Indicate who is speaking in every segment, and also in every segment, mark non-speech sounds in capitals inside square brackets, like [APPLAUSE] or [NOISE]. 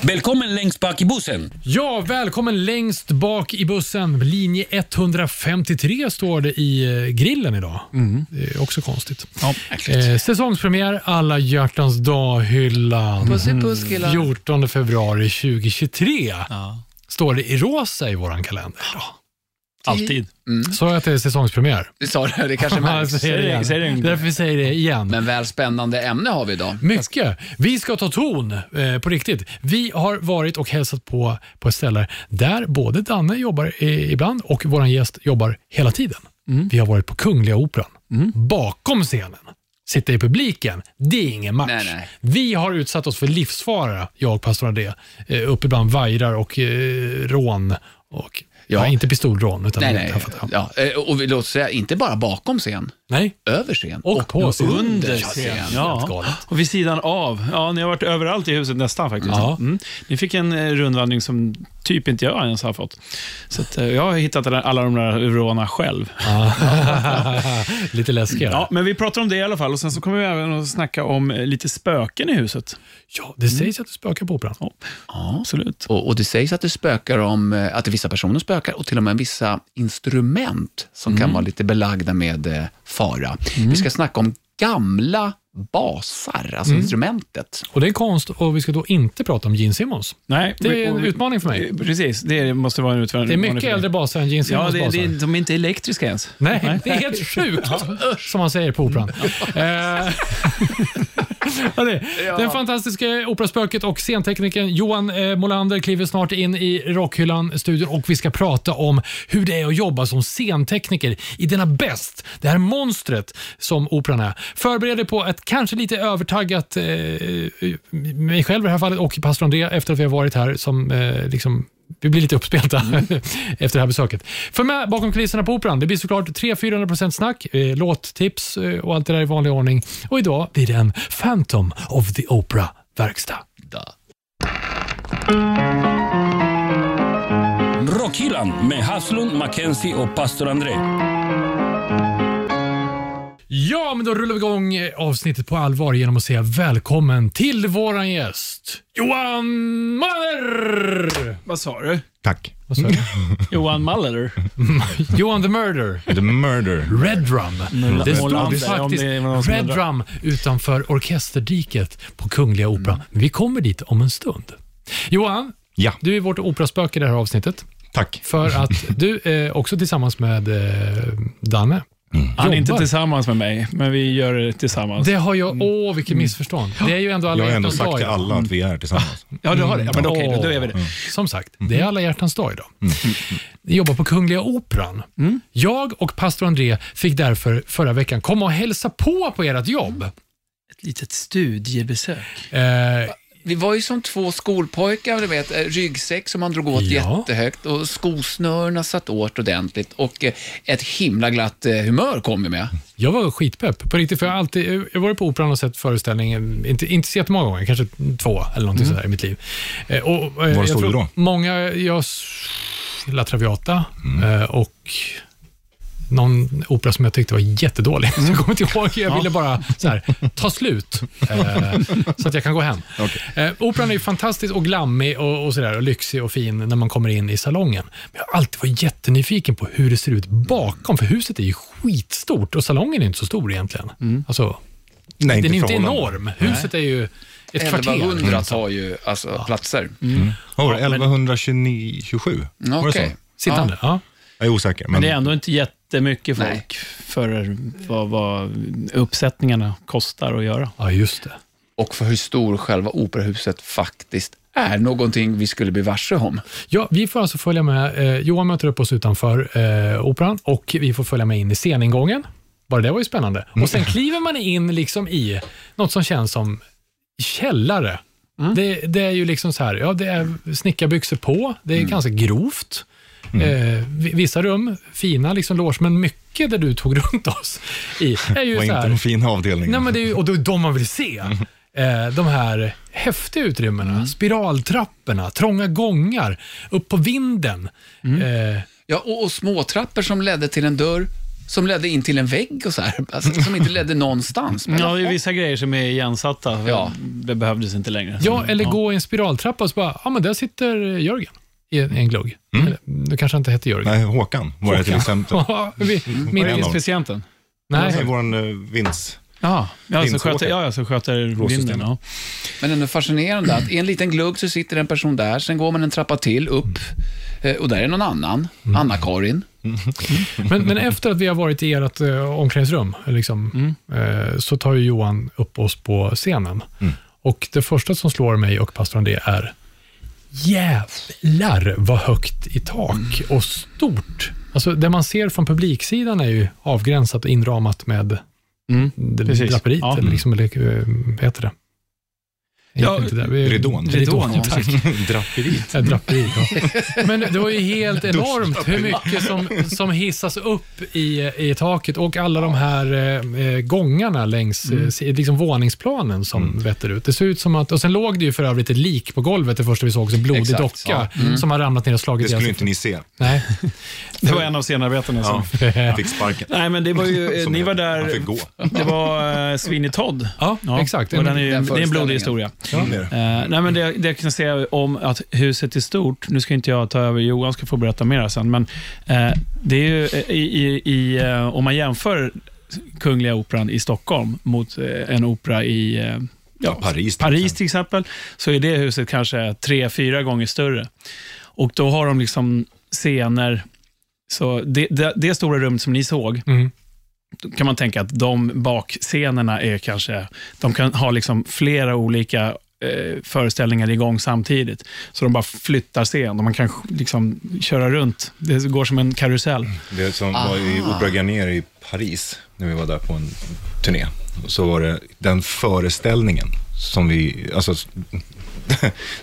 Speaker 1: Välkommen längst bak i bussen.
Speaker 2: Ja, välkommen längst bak i bussen. Linje 153 står det i eh, grillen idag.
Speaker 3: Mm.
Speaker 2: Det är också konstigt.
Speaker 1: Ja,
Speaker 2: Eh, säsongspremiär Alla hjärtans dag-hyllan.
Speaker 4: Puss i puss killar.
Speaker 2: 14 februari 2023
Speaker 3: Ja.
Speaker 2: står det i rosa i vår kalender.
Speaker 3: Alltid.
Speaker 2: Sa jag att det är säsongspremiär?
Speaker 4: Du sa det, det kanske
Speaker 2: [LAUGHS] Ja, jag
Speaker 4: märks.
Speaker 2: säger det igen.
Speaker 3: Säg det en gång.
Speaker 2: Därför vi säger det igen.
Speaker 4: Men väl spännande ämne har
Speaker 2: Mm,
Speaker 4: vi idag.
Speaker 2: Mycket. Vi ska ta ton eh, på riktigt. Vi har varit och hälsat på på ett ställe där både Danne jobbar eh, ibland och vår gäst jobbar hela tiden.
Speaker 4: Mm.
Speaker 2: Vi har varit på Kungliga Operan. Bakom scenen. Sitta i publiken, det är ingen match.
Speaker 4: Nej, nej.
Speaker 2: Vi har utsatt oss för livsfara, jag och pastor André. Eh, uppe bland vajrar och eh, rån. Och,
Speaker 4: Ja.
Speaker 2: Nej, inte pistolrån. Utan
Speaker 4: Nej,
Speaker 2: det-
Speaker 4: nej.
Speaker 2: jag fattar.
Speaker 4: Ja, eh, och vi låter säga, inte bara bakom scen,
Speaker 2: nej.
Speaker 4: över scen
Speaker 2: Och, på scen.
Speaker 3: under
Speaker 2: Ja,
Speaker 3: scen.
Speaker 2: helt
Speaker 3: Ja.
Speaker 2: galet. [LAUGHS]
Speaker 3: Och vid sidan av. Ja, ni har varit överallt i huset nästan faktiskt.
Speaker 2: Ja.
Speaker 3: Mm. Ni fick en eh, rundvandring som typ inte jag ens har fått. Så att, eh, jag har hittat alla- alla de där råna själv.
Speaker 2: Lite läskigare.
Speaker 3: Ja, men vi pratar om det i alla fall och sen så kommer vi även att snacka om eh, lite spöken i huset.
Speaker 2: Ja,
Speaker 3: Mm.
Speaker 2: det sägs att det spökar på Operan.
Speaker 3: Ja, absolut.
Speaker 4: Och, och det sägs att det spökar om, eh, att vissa personer spökar och till och med vissa instrument som
Speaker 2: Mm.
Speaker 4: kan vara lite belagda med eh, fara. Vi ska snacka om gamla basar,
Speaker 2: Mm.
Speaker 4: alltså instrumentet.
Speaker 2: Och det är konst och vi ska då inte prata om Gene Simmons.
Speaker 3: Nej,
Speaker 2: Det är
Speaker 3: och-
Speaker 2: en
Speaker 3: och-
Speaker 2: utmaning för mig.
Speaker 3: Eh, Precis, det måste vara en utmaning.
Speaker 2: Det är
Speaker 3: för
Speaker 2: mycket
Speaker 3: dig.
Speaker 2: äldre baser än Gene
Speaker 3: Ja,
Speaker 2: Simmons
Speaker 3: det,
Speaker 2: baser.
Speaker 3: det, de är inte elektriska ens.
Speaker 2: Nej, det är [LAUGHS] helt sjukt, som man säger på Operan. Eh, [LAUGHS] ja, det. Den fantastiska operaspöket och scenteknikern Johan eh, Molander kliver snart in i Rockhyllan-studion och vi ska prata om hur det är att jobba som scentekniker i denna bäst, det här monstret som Operan är. Förbered dig på ett kanske lite övertaggat, eh, mig själv i det här fallet och pastor André efter att vi har varit här som eh, liksom vi blir lite uppspelta [LAUGHS] efter det här besöket. För med bakom kulisserna på Operan, det blir såklart 300-400% snack, eh, låttips eh, och allt det där i vanlig ordning. Och idag blir det en Phantom of the Opera-verkstad.
Speaker 4: Da.
Speaker 1: Rockhyllan med Haslund, Mackenzie och pastor André.
Speaker 2: Ja, men då rullar vi igång eh, avsnittet på allvar genom att säga välkommen till våran gäst, Johan Maller!
Speaker 3: Vad sa du?
Speaker 5: Tack.
Speaker 2: Vad sa jag?
Speaker 3: Johan Maller?
Speaker 2: Johan the Murder.
Speaker 5: The murder.
Speaker 2: Red Drum. Det stod
Speaker 3: Molander, om
Speaker 2: faktiskt
Speaker 3: det var någon som
Speaker 2: Red
Speaker 3: undrar.
Speaker 2: Drum utanför orkesterdiket på Kungliga Operan. Men Vi kommer dit om en stund. Johan,
Speaker 5: Ja,
Speaker 2: du är vårt operaspöke i det här avsnittet.
Speaker 5: tack.
Speaker 2: För att du är också tillsammans med eh, Danne.
Speaker 3: Han är inte
Speaker 2: Jobbar.
Speaker 3: tillsammans med mig, men vi gör det tillsammans.
Speaker 2: Det har jag... Åh, vilket missförstånd. Det är ju ändå alla
Speaker 5: Jag har ändå
Speaker 2: hjärtans
Speaker 5: sagt
Speaker 2: dag
Speaker 5: till
Speaker 2: idag.
Speaker 5: alla att vi är tillsammans.
Speaker 3: Ja, du har det. Ja,
Speaker 2: Mm.
Speaker 3: men okej, då, då är vi det.
Speaker 2: Som sagt, det är alla hjärtans dag idag. Jag jobbar på Kungliga Operan. Jag och pastor André fick därför förra veckan komma och hälsa på på ert jobb.
Speaker 3: Ett litet studiebesök.
Speaker 2: Eh,
Speaker 4: Vi var ju som två skolpojkar, du vet, eh, ryggsäck som man drog åt
Speaker 2: Ja.
Speaker 4: jättehögt och skosnörena satt åt ordentligt och eh, ett himla glatt eh, humör kom vi med.
Speaker 2: Jag var skitpepp på riktigt. För jag, har alltid, jag har varit på Operan och sett föreställningen, inte, inte så jättemånga gånger, kanske två eller någonting sådär i mitt liv. Eh, Och, Var
Speaker 5: Mm. Var såg du då?
Speaker 2: Många, jag s- La Traviata
Speaker 5: Mm.
Speaker 2: eh, och någon opera som jag tyckte var jättedålig. Så [LAUGHS] jag kommer inte ihåg. Jag ville bara så här, ta slut eh, så att jag kan gå hem. Eh, operan är ju fantastisk och glammig och, och, så där, och lyxig och fin när man kommer in i salongen. Men jag har alltid varit jättenyfiken på hur det ser ut bakom, för huset är ju skitstort och salongen är inte så stor egentligen. Alltså,
Speaker 5: Nej,
Speaker 2: den är inte
Speaker 5: förhållande.
Speaker 2: enorm. Huset är ju ett kvarter. Mm.
Speaker 4: 1100 tar ju alltså, platser. Mm,
Speaker 5: Vad var det? 1127? Var det så?
Speaker 4: Okej.
Speaker 2: Sittande. Ja.
Speaker 5: Jag är osäker. Men
Speaker 3: Men det är ändå inte jättemycket folk
Speaker 4: Nej.
Speaker 3: för vad, vad uppsättningarna kostar att göra.
Speaker 2: ja, just det.
Speaker 4: och för hur stor själva operahuset faktiskt är. Någonting vi skulle bli varse om.
Speaker 2: Ja, vi får alltså följa med. Eh, Johan möter upp oss utanför eh, operan och vi får följa med in i sceningången. Bara det var ju spännande.
Speaker 5: Mm.
Speaker 2: Och sen kliver man in liksom i något som känns som källare.
Speaker 5: Mm.
Speaker 2: Det, det är ju liksom så här, ja det är snickarbyxor på, det är
Speaker 5: Mm.
Speaker 2: ganska grovt. Eh, vi- vissa rum, fina liksom loge, men mycket där du tog [LAUGHS] runt oss i är ju
Speaker 5: det var
Speaker 2: så
Speaker 5: inte
Speaker 2: här,
Speaker 5: en fin avdelning.
Speaker 2: Nej, men det är ju, och det är de man vill
Speaker 5: [LAUGHS]
Speaker 2: se. Eh, de här häftiga utrymmena,
Speaker 5: Mm.
Speaker 2: spiraltrapporna, trånga gångar, upp på vinden. Eh,
Speaker 4: Ja, och, och småtrappor som ledde till en dörr som ledde in till en vägg och så här, [LAUGHS] alltså, som inte ledde någonstans. Men,
Speaker 3: Ja, det är vissa grejer som är igensatta.
Speaker 4: Ja.
Speaker 3: Det behövdes inte längre.
Speaker 5: Mm,
Speaker 2: Ja, eller gå i en spiraltrappa och så bara, ja men där sitter Jörgen i en, i en glugg. Eller, det kanske inte hette [LAUGHS] Jörgen.
Speaker 5: Mm. Nej, Håkan var det till exempel.
Speaker 2: Vi- min-
Speaker 5: Vad är det?
Speaker 3: Patienten.
Speaker 5: Det är
Speaker 2: nej.
Speaker 5: vår eh, vinst.
Speaker 3: Ja, ja, så
Speaker 5: Vindsåker.
Speaker 3: sköter, ja, ja, så sköter
Speaker 5: Blåsystemet.
Speaker 3: vinden. Ja.
Speaker 4: men ändå fascinerande att i en liten glugg så sitter en person där, sen går man en trappa till upp eh, och där är någon annan, Anna-Karin.
Speaker 2: Men, men efter att vi har varit i ert eh, omklädningsrum, liksom, eh, så tar ju Johan upp oss på scenen. Och det första som slår mig och pastor André är, jävlar vad högt i tak och stort. Alltså det man ser från publiksidan är ju avgränsat och inramat med
Speaker 3: Mm.
Speaker 2: det-
Speaker 3: precis.
Speaker 2: draperiet,
Speaker 3: Ja.
Speaker 2: eller liksom, eller, eh, vad heter det? Jag
Speaker 3: Ja,
Speaker 2: vet inte det. Vi-
Speaker 5: ridån.
Speaker 2: Ridån, ja,
Speaker 3: Ridån, ja.
Speaker 2: tack.
Speaker 5: [LAUGHS] Draperiet.
Speaker 2: Ett draperi, ja. [LAUGHS] Men det var ju helt enormt hur mycket som, som hissas upp i, i taket och alla de här eh, eh, gångarna längs eh, si- liksom våningsplanen som vetter ut. Det ser ut som att, och sen låg det ju för övrigt ett lik på golvet det första vi såg, en blodig
Speaker 4: Exakt,
Speaker 2: docka som har ramlat ner och slagit
Speaker 5: Mm. Det skulle
Speaker 2: ihjäl
Speaker 5: inte ni se.
Speaker 2: Nej.
Speaker 3: Det var en av scenarbetarna som...
Speaker 5: Ja, fick sparken.
Speaker 3: Nej, men det var ju, [LAUGHS] eh,
Speaker 5: [LAUGHS] Som
Speaker 3: ni
Speaker 5: jag-
Speaker 3: var
Speaker 5: Han
Speaker 3: där,
Speaker 5: fick gå.
Speaker 3: det var eh, Sweeney Todd.
Speaker 2: Ja, exakt.
Speaker 3: Och den är, ju-
Speaker 4: Den
Speaker 3: det är en blodig
Speaker 4: föreställningen.
Speaker 3: historia.
Speaker 5: Mm.
Speaker 3: Eh, nej, men det, det jag kan säga om att huset är stort, nu ska inte jag ta över, Johan ska få berätta mer sen, men eh, det är ju eh, i, i, i, eh, om man jämför Kungliga Operan i Stockholm mot eh, en opera i eh, ja,
Speaker 5: Paris.
Speaker 3: Paris till exempel, så är det huset kanske tre, fyra gånger större. Och då har de liksom scener, så det, det, det stora rummet som ni såg,
Speaker 2: Mm.
Speaker 3: då kan man tänka att de bakscenerna är kanske, de kan ha liksom flera olika eh, föreställningar igång samtidigt. Så de bara flyttar scen och man kan sk- liksom köra runt. Det går som en karusell.
Speaker 5: Det som var i Opera Garnier i Paris, när vi var där på en turné, så var det den föreställningen som vi, alltså, [LAUGHS]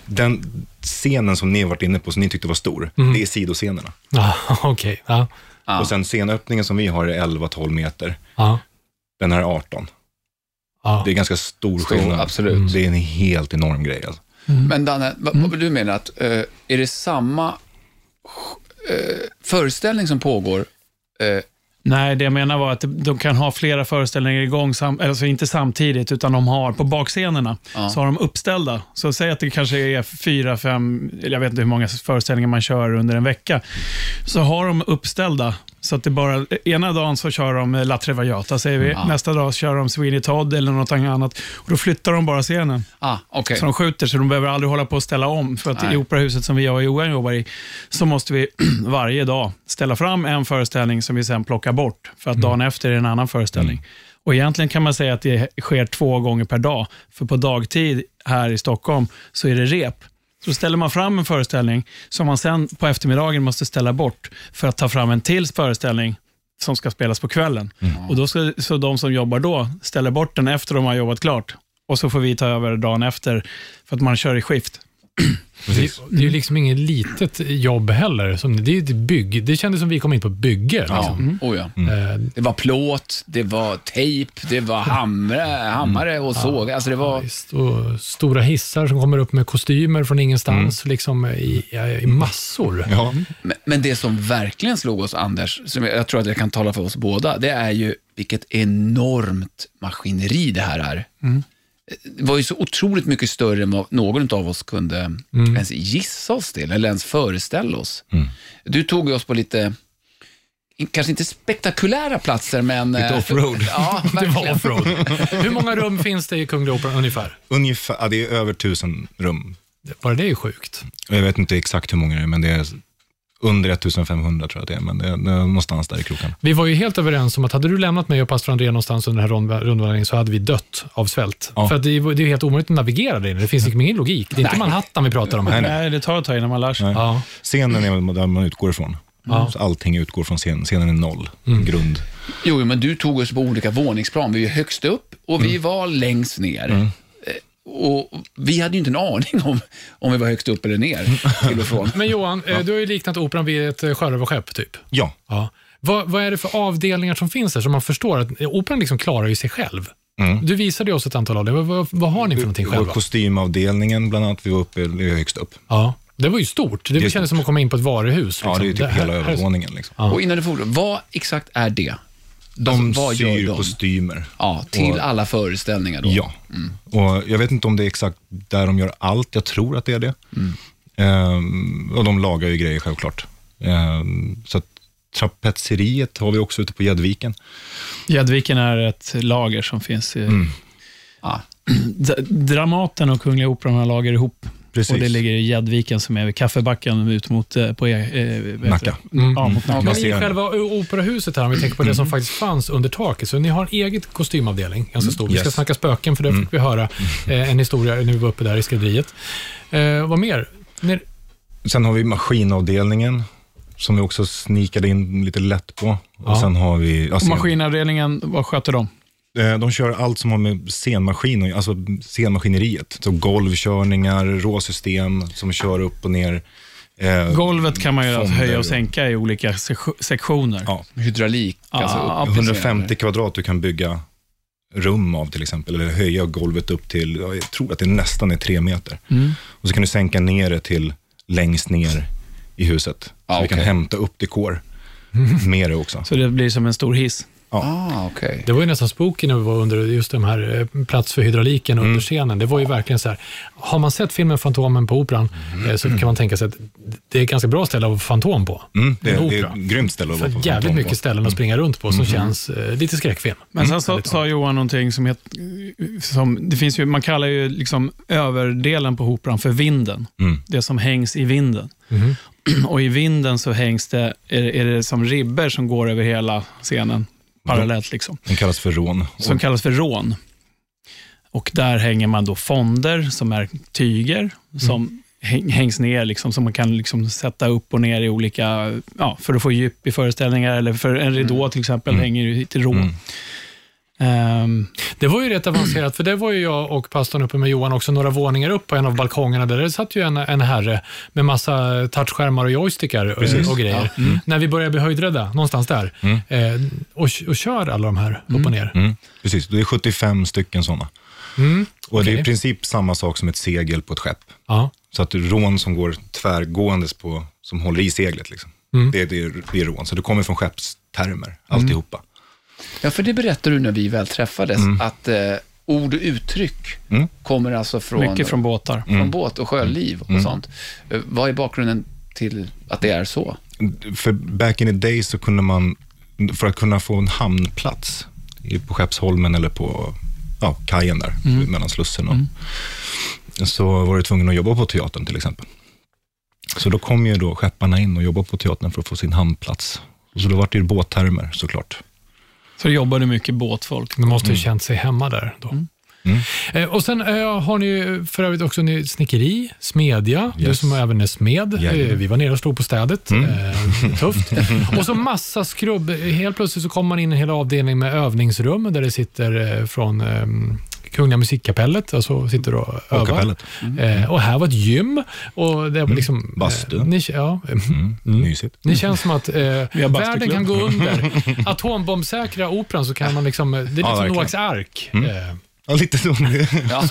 Speaker 5: den scenen som ni har varit inne på, som ni tyckte var stor, det är sidoscenerna.
Speaker 2: [LAUGHS] Ja, Ah, okej. Ja,
Speaker 4: Ja.
Speaker 5: Och sen scenöppningen som vi har är 11-12 meter,
Speaker 2: ja,
Speaker 5: den här är 18.
Speaker 2: ja.
Speaker 5: Det är ganska stor
Speaker 4: Stor,
Speaker 5: skillnad. Mm.
Speaker 4: absolut.
Speaker 5: Det är en helt enorm grej. Alltså.
Speaker 4: Men Danne, vad, vad du menar att eh, är det samma eh, föreställning som pågår eh,
Speaker 3: Nej, det jag menar var att de kan ha flera föreställningar igång, sam, alltså inte samtidigt, utan de har på bakscenerna,
Speaker 4: Ja.
Speaker 3: så har de uppställda. Så säg att det kanske är fyra, fem, eller jag vet inte hur många föreställningar man kör under en vecka, så har de uppställda. Så att det bara, ena dagen så kör de eh, La Traviata, säger vi. Nästa dag så kör de Sweeney Todd eller något annat. Och då flyttar de bara scenen.
Speaker 4: Ah, okej.
Speaker 3: Så de skjuter, så de behöver aldrig hålla på att ställa om. För att
Speaker 4: Nej.
Speaker 3: i operahuset som vi och Johan jobbar i, så måste vi [CLEARS THROAT] varje dag ställa fram en föreställning som vi sen plockar bort. För att dagen efter är det en annan föreställning. Och egentligen kan man säga att det sker två gånger per dag. För på dagtid här i Stockholm så är det rep. Så ställer man fram en föreställning som man sen på eftermiddagen måste ställa bort för att ta fram en till föreställning som ska spelas på kvällen. Och då ska, så de som jobbar då ställer bort den efter de har jobbat klart. Och så får vi ta över dagen efter för att man kör i skift.
Speaker 5: Precis.
Speaker 2: Det är ju liksom inget litet jobb heller. Som, det är ju ett bygg. Det kändes som vi kom in på ett bygge.
Speaker 4: Ja,
Speaker 2: Liksom.
Speaker 4: oh, ja.
Speaker 2: Eh,
Speaker 4: Det var plåt, det var tejp, det var hammare, hammare och såg. Alltså det var...
Speaker 2: Visst, och stora hissar som kommer upp med kostymer från ingenstans, liksom i, i massor.
Speaker 5: Mm. Ja.
Speaker 4: Men- Men det som verkligen slog oss, Anders, som jag jag tror att jag kan tala för oss båda, det är ju vilket enormt maskineri det här är. Det var ju så otroligt mycket större än vad någon av oss kunde ens gissa oss till, eller ens föreställa oss. Du tog ju oss på lite, kanske inte spektakulära platser, men... Lite
Speaker 5: offroad.
Speaker 4: Ja,
Speaker 2: Det
Speaker 4: verkligen.
Speaker 2: var offroad. Hur många rum finns det i Kungliga Operan ungefär?
Speaker 5: Ungefär, ja, det är över tusen rum.
Speaker 2: Bara det är ju sjukt.
Speaker 5: Jag vet inte exakt hur många det är, men det är under 1500 tror jag att det är, men det är, det är någonstans där i krokarna.
Speaker 2: Vi var ju helt överens om att hade du lämnat mig och pastor André någonstans under den här rund- rundvandringen så hade vi dött av svält.
Speaker 5: Ja.
Speaker 2: För att det, är- det är ju helt omöjligt att navigera där inne. Det finns liksom ingen logik. Det är inte Manhattan vi pratar om här.
Speaker 5: Nej, nej.
Speaker 3: Nej, det tar ett tag innan man lär sig.
Speaker 5: Nej.
Speaker 2: Ja.
Speaker 5: Scenen är där man utgår ifrån.
Speaker 2: Ja.
Speaker 5: Så allting utgår från scenen. Scenen är noll, grund.
Speaker 4: Jo, jo, men du tog oss på olika våningsplan. Vi var ju högst upp och vi var längst ner. Eh, Och vi hade ju inte en aning om, om vi var högst upp eller ner till och från.
Speaker 2: Men Johan, eh, du har ju liknat operan vid ett eh, sjörövarskepp, typ.
Speaker 5: Ja,
Speaker 2: Ja. Vad, vad är det för avdelningar som finns där som man förstår att eh, operan liksom klarar ju sig själv?
Speaker 5: Mm.
Speaker 2: Du visade ju oss ett antal av det. Vad, vad, vad har ni för någonting
Speaker 5: vår
Speaker 2: själva?
Speaker 5: kostymavdelningen bland annat, vi var uppe, vi var högst upp.
Speaker 2: Ja. Det var ju stort. Det,
Speaker 5: är
Speaker 2: kändes
Speaker 5: stort.
Speaker 2: som att komma in på ett varuhus. liksom.
Speaker 5: Ja, det är ju typ
Speaker 2: här-
Speaker 5: hela
Speaker 2: här är så-
Speaker 5: övervåningen. Liksom.
Speaker 4: Och innan du fortsätter, vad exakt är det?
Speaker 5: De
Speaker 4: Alltså, vad gör
Speaker 5: syr
Speaker 4: de?
Speaker 5: kostymer.
Speaker 4: Ja, Mm. till
Speaker 5: Och-
Speaker 4: alla föreställningar då?
Speaker 5: Ja, och jag vet inte om det är exakt där de gör allt. Jag tror att det är det.
Speaker 4: Mm.
Speaker 5: Ehm, och de lagar ju grejer självklart. Ehm, så att trapetseriet har vi också ute på Gäddviken.
Speaker 3: Gäddviken är ett lager som finns i...
Speaker 5: Mm.
Speaker 4: Ja.
Speaker 3: D- Dramaten och Kungliga Operan har lager ihop.
Speaker 5: Precis.
Speaker 3: Och det ligger i Gäddviken som är vid kaffebacken ut mot eh, på, eh, eh, vad heter
Speaker 5: Nacka. Mm.
Speaker 3: det? Ja, mot Nacka.
Speaker 2: Men
Speaker 5: Man
Speaker 2: i
Speaker 5: ser- Mm.
Speaker 2: själva operahuset här, om vi tänker på det som faktiskt fanns under taket, så ni har en eget kostymavdelning, ganska stor. Vi ska
Speaker 5: Mm. Yes. Mm.
Speaker 2: snacka spöken, för det fick vi höra eh, en historia när vi var uppe där i skriveriet. Eh, vad mer? Ner,
Speaker 5: Sen har vi maskinavdelningen, som vi också snikade in lite lätt på.
Speaker 2: Ja.
Speaker 5: Och sen har vi... ja,
Speaker 3: Och
Speaker 5: scen-
Speaker 3: maskinavdelningen, vad sköter de?
Speaker 5: Eh, De kör allt som har med scenmaskin och- alltså scenmaskineriet. Så golvkörningar, råsystem som kör upp och ner. Eh,
Speaker 3: Golvet kan man ju
Speaker 5: fonder
Speaker 3: höja och
Speaker 5: och-
Speaker 3: sänka i olika se- sektioner.
Speaker 5: Ja.
Speaker 4: Hydraulik,
Speaker 3: Ja,
Speaker 4: alltså upp
Speaker 3: ja,
Speaker 4: med
Speaker 5: 150 kvadrat du kan bygga rum av till exempel, eller höja golvet upp till, ja, jag tror att det nästan är tre meter.
Speaker 3: Mm.
Speaker 5: Och så kan du sänka ner det till längst ner i huset. Så
Speaker 3: Ah,
Speaker 4: Ja,
Speaker 5: vi kan
Speaker 4: okej.
Speaker 5: hämta upp dekor
Speaker 3: [LAUGHS]
Speaker 5: med det också.
Speaker 3: Så det blir som en stor hiss.
Speaker 4: scener. Ah, okej.
Speaker 2: det var ju nästan spooky när vi var under just de här eh, plats för hydrauliken
Speaker 5: Mm.
Speaker 2: under scenen. Det var ju verkligen så här, har man sett filmen Fantomen på Operan
Speaker 5: Mm.
Speaker 2: eh, så kan man tänka sig att det är ett ganska bra ställe att vara fantom på.
Speaker 5: Mm, det,
Speaker 2: En
Speaker 5: det är
Speaker 2: opera.
Speaker 5: ett grymt ställe att vara på.
Speaker 2: För jävligt
Speaker 5: på.
Speaker 2: mycket ställen att springa runt på som
Speaker 5: Mm.
Speaker 2: känns eh, lite skräckfilm.
Speaker 3: Men sen sa, sa Johan någonting som, het, som det finns ju, man kallar ju liksom överdelen på operan för vinden.
Speaker 5: Mm.
Speaker 3: Det som hängs i vinden. [CLEARS THROAT] Och i vinden så hängs det, är, är det som ribber som går över hela scenen parallellt. liksom.
Speaker 5: Den kallas för rån.
Speaker 3: Som kallas för rån. Och där hänger man då fonder som är tyger som häng- hängs ner, liksom, som man kan liksom sätta upp och ner i olika, ja, för att få djup i föreställningar, eller för en ridå till exempel, hänger ju till rån. Ehm,
Speaker 2: Det var ju rätt avancerat, för det var ju jag och pastorn uppe med Johan också några våningar upp på en av balkongerna. Där det satt ju en, en herre med massa touchskärmar och joystickar och, och grejer.
Speaker 5: Mm.
Speaker 2: När vi börjar bli höjdrädda, någonstans där, eh, och, och kör alla de här upp och ner.
Speaker 5: Mm, precis, det är 75 stycken sådana. Och det är
Speaker 2: Mm, okej.
Speaker 5: i princip samma sak som ett segel på ett skepp.
Speaker 2: Ja.
Speaker 5: Så att rån som går tvärgåendes på, som håller i seglet. Liksom.
Speaker 2: Mm.
Speaker 5: Det, det, är- det är rån. Så det kommer från skeppstermer, alltihopa.
Speaker 4: Ja, för det berättade du när vi väl träffades, att eh, ord och uttryck kommer alltså från,
Speaker 3: mycket från båtar.
Speaker 4: från båt och sjöliv och sånt. Eh, vad är bakgrunden till att det är så?
Speaker 5: För back in the day så kunde man, för att kunna få en hamnplats i- på Skeppsholmen eller på ja, kajen där,
Speaker 3: Mm.
Speaker 5: mellan Slussen och, så var du tvungen att jobba på teatern till exempel. Så då kom ju då skepparna in och jobbade på teatern för att få sin hamnplats. Så då var det ju båttermer såklart.
Speaker 3: Så det jobbade mycket båtfolk.
Speaker 2: De måste ju känt sig hemma där då.
Speaker 5: Mm.
Speaker 2: Eh, och sen eh, har ni ju för övrigt också ni, snickeri, smedja, du
Speaker 5: Yes.
Speaker 2: som även är smed.
Speaker 5: Jajamän. Mm.
Speaker 2: Eh, vi var nere och slog på städet.
Speaker 5: [LAUGHS]
Speaker 2: Eh, tufft. och så massa skrubb. Helt plötsligt så kommer man in i en hel avdelning med övningsrum där det sitter eh, från eh, Kungliga Musikkapellet, alltså sitter och övar.
Speaker 5: kapellet. Mm.
Speaker 2: Eh, och här var ett gym. Och det var liksom, eh,
Speaker 5: Bastu.
Speaker 2: ni, ja,
Speaker 5: Mm.
Speaker 3: Mm.
Speaker 5: Mysigt.
Speaker 2: det känns som att eh, världen
Speaker 3: bastuklubb.
Speaker 2: kan gå under.
Speaker 3: [LAUGHS]
Speaker 2: Atombombsäkra operan så kan man liksom, eh, det är lite som
Speaker 5: verkligen.
Speaker 2: Noaks ark.
Speaker 3: Mm.
Speaker 2: Eh,
Speaker 5: Ja, lite så.
Speaker 3: [LAUGHS]
Speaker 4: Ja.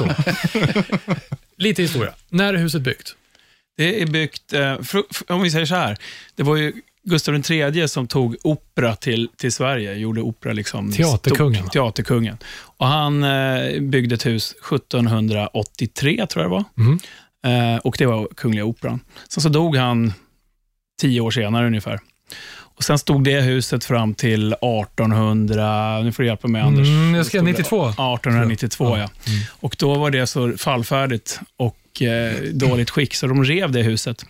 Speaker 2: lite historia. När är huset byggt?
Speaker 3: Det är byggt, eh, fr- fr- om vi säger så här, det var ju Gustav III som tog opera till, till Sverige, gjorde opera liksom
Speaker 2: Teaterkungen.
Speaker 3: stort. teaterkungen. Och han eh, byggde ett hus 1783, tror jag det var.
Speaker 2: Mm.
Speaker 3: Eh, och det var Kungliga Operan. Sen så dog han tio år senare ungefär. Och Sen stod det huset fram till 1800, nu får du hjälpa mig Anders.
Speaker 2: Mm, jag skrev
Speaker 3: Stod det?
Speaker 2: 92.
Speaker 3: 1892 ja. Och då var det så fallfärdigt och eh, dåligt skick, så de rev det huset.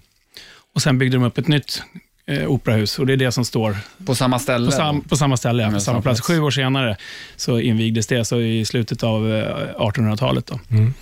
Speaker 3: Och Sen byggde de upp ett nytt eh, operahus och det är det som står
Speaker 4: På samma ställe?
Speaker 3: på, sam, på samma ställe, ja, på
Speaker 4: Men
Speaker 3: samma
Speaker 4: samma
Speaker 3: plats.
Speaker 4: plats.
Speaker 3: Sju år senare så invigdes det, så i slutet av eh, 1800-talet. Då.
Speaker 5: Mm.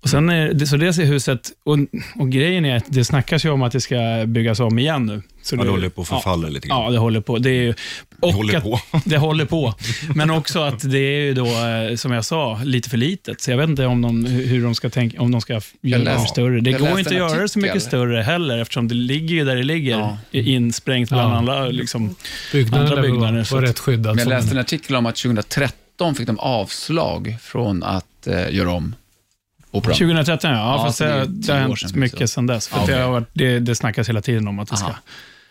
Speaker 3: Och sen är det, så det är huset, och, och grejen är att det snackas ju om att det ska byggas om igen nu. Så
Speaker 5: Ja, det håller på att förfalla lite grann.
Speaker 3: Ja, det håller på. Det, är ju, och
Speaker 5: håller
Speaker 3: att,
Speaker 5: på.
Speaker 3: det håller på. Men också att det är ju då, eh, som jag sa, lite för litet. Så jag vet inte om de, hur de ska tänka, om de ska göra det
Speaker 4: läste-
Speaker 3: för större. Det
Speaker 4: jag
Speaker 3: går
Speaker 4: läste
Speaker 3: inte att
Speaker 4: en
Speaker 3: göra det så mycket
Speaker 4: artikel.
Speaker 3: större heller, eftersom det ligger ju där det ligger,
Speaker 4: Ja.
Speaker 3: insprängt bland
Speaker 2: Ja.
Speaker 3: alla liksom,
Speaker 2: Byggnaden
Speaker 3: Andra
Speaker 2: där
Speaker 3: byggnader,
Speaker 2: var,
Speaker 3: så
Speaker 2: var
Speaker 3: att-
Speaker 2: rätt skyddad.
Speaker 3: Alltså,
Speaker 4: Men jag
Speaker 2: som
Speaker 4: läste
Speaker 2: en-
Speaker 4: en artikel om att 2013 fick de avslag från att eh, göra om operan.
Speaker 3: 2013, ja. ja,
Speaker 4: Ja,
Speaker 3: fast
Speaker 4: så det är
Speaker 3: det,
Speaker 4: tio
Speaker 3: det har
Speaker 4: år
Speaker 3: hänt
Speaker 4: sedan,
Speaker 3: mycket
Speaker 4: så.
Speaker 3: sedan dess. För
Speaker 4: Ja,
Speaker 3: det,
Speaker 4: okej.
Speaker 3: har varit, det, det snackas hela tiden om att det ska
Speaker 4: Aha.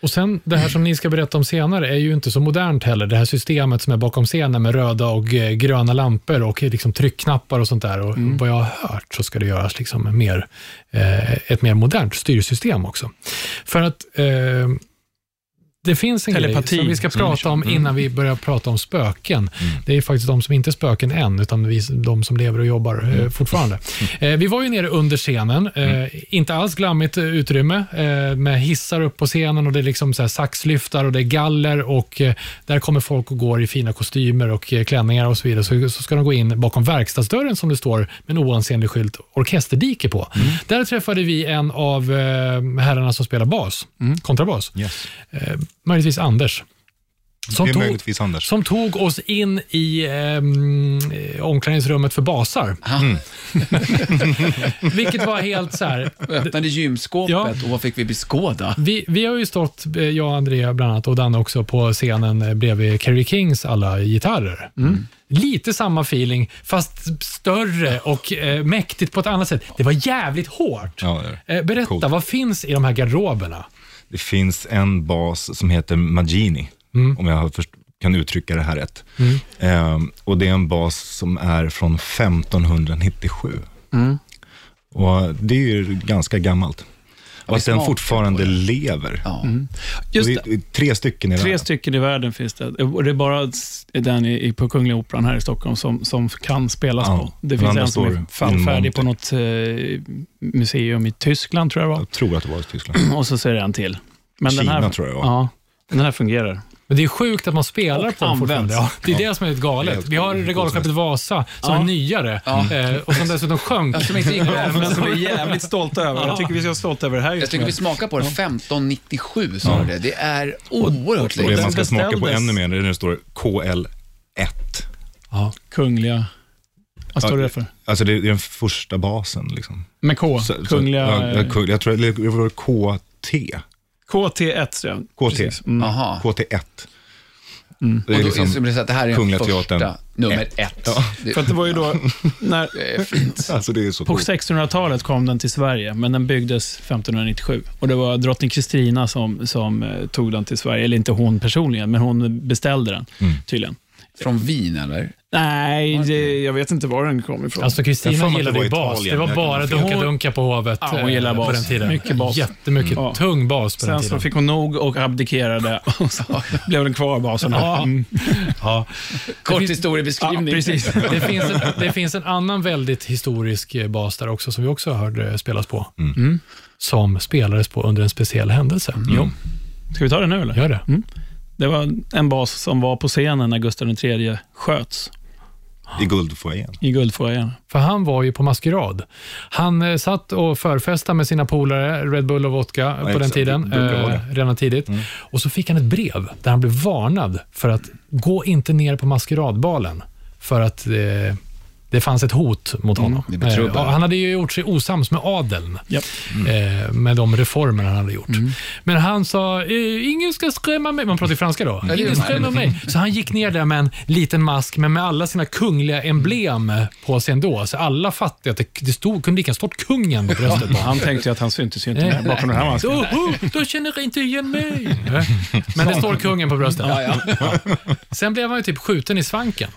Speaker 2: Och sen det här som ni ska berätta om senare är ju inte så modernt heller. Det här systemet som är bakom scenen med röda och eh, gröna lampor och liksom tryckknappar och sånt där. Och vad jag har hört så ska det göras liksom en mer, eh, ett mer modernt styrsystem också. För att eh, det finns en
Speaker 3: Telepati.
Speaker 2: grej som vi ska prata om innan vi börjar prata om spöken. Det är faktiskt de som inte är spöken än, utan vi, de som lever och jobbar eh, fortfarande. Eh, vi var ju nere under scenen, eh, inte alls glammigt eh, utrymme, eh, med hissar upp på scenen och det är liksom så här saxlyftar och det är galler och eh, där kommer folk och går i fina kostymer och eh, klänningar och så vidare. Så, så ska de gå in bakom verkstadsdörren som det står med en oansenlig skylt orkesterdike på. Där träffade vi en av eh, herrarna som spelar bas, kontrabas Eh,
Speaker 5: Yes.
Speaker 2: möjligtvis Anders.
Speaker 5: Det
Speaker 2: Som
Speaker 5: är
Speaker 2: tog,
Speaker 5: möjligtvis Anders.
Speaker 2: som tog oss in i ehm, omklädningsrummet för basar.
Speaker 5: Mm.
Speaker 2: Vilket var helt så här,
Speaker 4: Och öppnade gymskåpet
Speaker 2: Ja.
Speaker 4: och vad fick vi beskåda?
Speaker 2: vi, vi har ju stått, eh, jag och Andrea bland annat, och Danne också, på scenen eh, bredvid Kerry Kings alla gitarrer. Lite samma feeling, fast större och eh, mäktigt på ett annat sätt. Det var jävligt hårt.
Speaker 5: Ja, det är det.
Speaker 2: Eh, berätta,
Speaker 5: Coolt.
Speaker 2: vad finns i de här garderoberna?
Speaker 5: Det finns en bas som heter Magini,
Speaker 3: Mm.
Speaker 5: om jag har först- kan uttrycka det här rätt. Ehm, och det är en bas som är från 1597.
Speaker 4: Mm.
Speaker 5: Och det är ju ganska gammalt. Och att den
Speaker 4: smakar
Speaker 5: fortfarande
Speaker 4: på det.
Speaker 5: lever.
Speaker 4: Ja.
Speaker 3: Mm.
Speaker 5: Och
Speaker 3: Just
Speaker 5: det är tre stycken i
Speaker 3: Tre
Speaker 5: världen.
Speaker 3: stycken i världen finns det. Och det är bara den i, i- på Kungliga Operan här i Stockholm som, som kan spelas
Speaker 5: Ja,
Speaker 3: på. Det
Speaker 5: den
Speaker 3: finns
Speaker 5: andra
Speaker 3: en som
Speaker 5: står
Speaker 3: är fan
Speaker 5: in
Speaker 3: färdig på
Speaker 5: monter.
Speaker 3: något eh, museum i Tyskland, tror jag det
Speaker 5: Jag tror att det var i
Speaker 4: [CLEARS THROAT]
Speaker 5: Tyskland.
Speaker 3: var. Och så ser det en till. Men
Speaker 5: Kina
Speaker 3: den här,
Speaker 5: tror jag det var.
Speaker 3: Ja, den här fungerar.
Speaker 2: Men det är sjukt att man spelar
Speaker 3: Och
Speaker 2: på dem fortfarande.
Speaker 3: används.
Speaker 2: Ja, det är det som är helt galet. Vi har regalskeppet Vasa som är nyare eh, och som dessutom sjönk.
Speaker 4: Som inte
Speaker 3: [LAUGHS]
Speaker 4: gick bra.
Speaker 3: Men som vi är jävligt stolta över. Jag tycker vi ska vara stolta över det här
Speaker 4: Jag
Speaker 3: just
Speaker 4: tycker vi
Speaker 3: nu.
Speaker 4: smakar på det. 1597 sa det. Det är oerhört
Speaker 5: Och det man
Speaker 4: länge.
Speaker 5: ska smaka på
Speaker 3: beställdes-
Speaker 5: ännu mer, när det står KL1.
Speaker 3: Kungliga... Vad står det för?
Speaker 5: Alltså det är den första basen. Liksom.
Speaker 3: Med K.
Speaker 5: Så- så-
Speaker 3: Kungliga...
Speaker 5: ja, kung- jag tror det det var KT.
Speaker 3: KT1, tror jag.
Speaker 5: KT.
Speaker 3: Precis. Mm.
Speaker 4: Jaha.
Speaker 5: KT1. Det
Speaker 2: Mm.
Speaker 4: Och
Speaker 5: är
Speaker 4: då inser
Speaker 5: liksom,
Speaker 4: man att det här är den
Speaker 5: Kungliga
Speaker 4: första,
Speaker 5: Teatern.
Speaker 4: nummer
Speaker 5: Ett.
Speaker 4: ett.
Speaker 5: Ja.
Speaker 4: Det,
Speaker 3: För att det var ju
Speaker 5: [LAUGHS]
Speaker 3: då... När,
Speaker 4: det är fint.
Speaker 5: alltså det är så
Speaker 3: På
Speaker 5: coolt.
Speaker 3: 1600-talet kom den till Sverige, men den byggdes 1597. Och Det var drottning Kristina som, som eh, tog den till Sverige. Eller inte hon personligen, men hon beställde den
Speaker 5: Mm.
Speaker 3: tydligen.
Speaker 4: Från Wien eller?
Speaker 3: Nej, det, jag vet inte var den kom
Speaker 2: Alltså
Speaker 3: ifrån.
Speaker 5: Jag får
Speaker 2: Kristina
Speaker 5: mig att
Speaker 2: gillade
Speaker 5: det var
Speaker 2: ju bas.
Speaker 5: Italien.
Speaker 2: Det var
Speaker 5: Jag kan
Speaker 2: bara
Speaker 5: inte-
Speaker 2: dunka-dunka på hovet
Speaker 3: Ja, hon gillar
Speaker 2: eh, på
Speaker 3: bas.
Speaker 2: den tiden.
Speaker 3: Mycket bas. Mm.
Speaker 2: Jättemycket.
Speaker 3: Ja.
Speaker 2: Tung bas på den
Speaker 3: Sen
Speaker 2: tiden.
Speaker 3: så fick hon nog och abdikerade
Speaker 2: [LAUGHS]
Speaker 3: och så blev den kvar basen.
Speaker 2: Ja.
Speaker 3: Mm.
Speaker 2: Ja.
Speaker 4: Kort
Speaker 2: finns-
Speaker 4: historiebeskrivning.
Speaker 3: Ja, [LAUGHS] precis.
Speaker 2: Det, finns en, det finns en annan väldigt historisk eh, bas där också, som vi också hörde spelas på. Mm. Som spelades på under en speciell händelse. Jo,
Speaker 3: Ska vi ta det nu eller?
Speaker 2: gör det.
Speaker 3: Det var en bas som var på scenen när Gustav III sköts
Speaker 5: I guldfoajén.
Speaker 3: i guldfoajén.
Speaker 2: För han var ju på maskerad. Han eh, satt och förfestade med sina polare, Red Bull och vodka eh, på den
Speaker 5: exakt.
Speaker 2: tiden,
Speaker 5: Det brukar vara
Speaker 2: eh,
Speaker 5: det. Mm.
Speaker 2: redan tidigt. Och så fick han ett brev där han blev varnad för att gå inte ner på maskeradbalen för att eh, det fanns ett hot mot
Speaker 5: Mm,
Speaker 2: honom.
Speaker 4: det blir trubbel.
Speaker 2: Eh, han hade ju gjort sig osams med adeln
Speaker 3: Japp.
Speaker 2: eh, med de reformer han hade gjort. Men han sa, eh, ingen ska skrämma mig. Man pratar ju franska då.
Speaker 4: det gör
Speaker 2: Ingen
Speaker 4: man.
Speaker 2: skrämmer mig. Så han gick ner där med en liten mask, men med alla sina kungliga emblem på sig ändå. Så alla fattade att det, det stod, kunde lika stått kungen på bröstet.
Speaker 3: Han tänkte ju att han syntes ju inte bakom den här masken.
Speaker 2: Så, oh, då känner jag inte igen mig. Eh, Men det står kungen på bröstet. Sen blev han ju typ skjuten i svanken.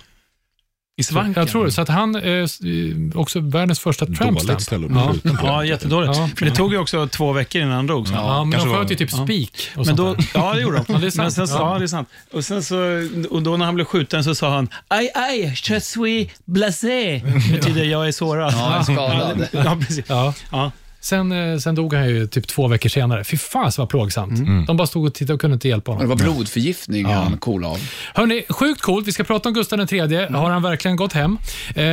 Speaker 3: I svanken.
Speaker 2: Jag tror det. Så att han, eh, s- eh, också världens första tramp stamp.
Speaker 5: Dåligt ställe att
Speaker 2: Ja.
Speaker 5: bli skjuten på.
Speaker 3: Ja, jättedåligt.
Speaker 2: Ja.
Speaker 3: För det tog ju också två veckor innan han dog. Så.
Speaker 2: Ja, men de
Speaker 5: kanske var-
Speaker 2: sköt ju typ spik och
Speaker 3: Men
Speaker 2: sånt
Speaker 3: då,
Speaker 2: där.
Speaker 3: ja, det gjorde de.
Speaker 2: Ja, det är sant.
Speaker 3: Men sen så,
Speaker 2: Ja.
Speaker 3: ja. det är sant. Och, sen så, och då när han blev skjuten så sa han Aj, aj, je suis blasé. Det betyder jag är sårad.
Speaker 4: Ja, jag är skadad.
Speaker 3: [LAUGHS] Ja, precis.
Speaker 2: Ja.
Speaker 3: Ja.
Speaker 2: Sen, eh, sen dog han ju typ två veckor senare. Fy fan så var plågsamt.
Speaker 3: Mm.
Speaker 2: De bara stod och tittade och kunde inte hjälpa
Speaker 4: Och det
Speaker 2: honom.
Speaker 4: var blodförgiftning han cool av.
Speaker 2: Hörni, sjukt coolt. Vi ska prata om Gustav III.
Speaker 3: Mm.
Speaker 2: Har han verkligen gått hem? Eh,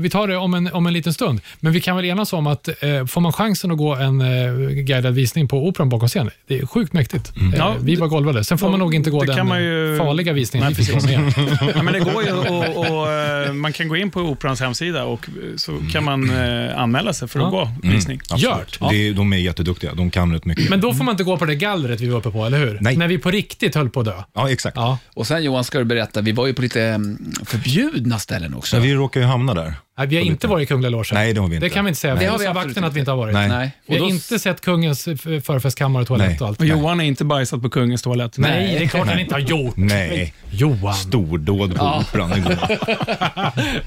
Speaker 2: vi tar det om en, om en liten stund. Men vi kan väl enas om att eh, får man chansen att gå en eh, guidad visning på Operan bakom scen, det är sjukt mäktigt. Eh,
Speaker 3: Mm. Ja,
Speaker 2: vi var golvade. Sen får man
Speaker 3: det-
Speaker 2: nog inte gå
Speaker 3: det kan
Speaker 2: den
Speaker 3: man ju-
Speaker 2: farliga visningen
Speaker 3: Nej,
Speaker 2: vi fick
Speaker 3: precis.
Speaker 2: vara med.
Speaker 3: Ja, men det går ju och, och, eh, man kan gå in på Operans hemsida och eh, så kan man eh, anmäla sig för att
Speaker 2: Ja.
Speaker 3: gå visning.
Speaker 2: Gjort.
Speaker 5: Det är, de är jätteduktiga, de kan rätt mycket.
Speaker 2: Men då får man inte gå på det gallret vi var uppe på, eller hur?
Speaker 5: Nej.
Speaker 2: När vi på riktigt höll på att dö.
Speaker 5: Ja, exakt.
Speaker 2: Ja.
Speaker 4: Och sen Johan ska du berätta, vi var ju på lite mm, förbjudna ställen också.
Speaker 5: Men vi råkar ju hamna där.
Speaker 2: Nej, vi har inte varit i Kungliga Logen.
Speaker 5: Nej, det har vi inte.
Speaker 2: Det kan vi inte säga. Det har vi
Speaker 4: absolut
Speaker 2: vakten att vi inte har varit.
Speaker 5: Nej.
Speaker 4: Nej.
Speaker 2: Vi har
Speaker 4: Och då-
Speaker 2: inte sett kungens eh, förfestkammare och toalett
Speaker 5: Nej.
Speaker 2: och allt.
Speaker 3: Och Johan är inte bajsat på kungens toalett.
Speaker 2: Nej, det är klart han inte har gjort.
Speaker 5: Nej.
Speaker 2: Johan.
Speaker 5: Stordåd på Operan. Det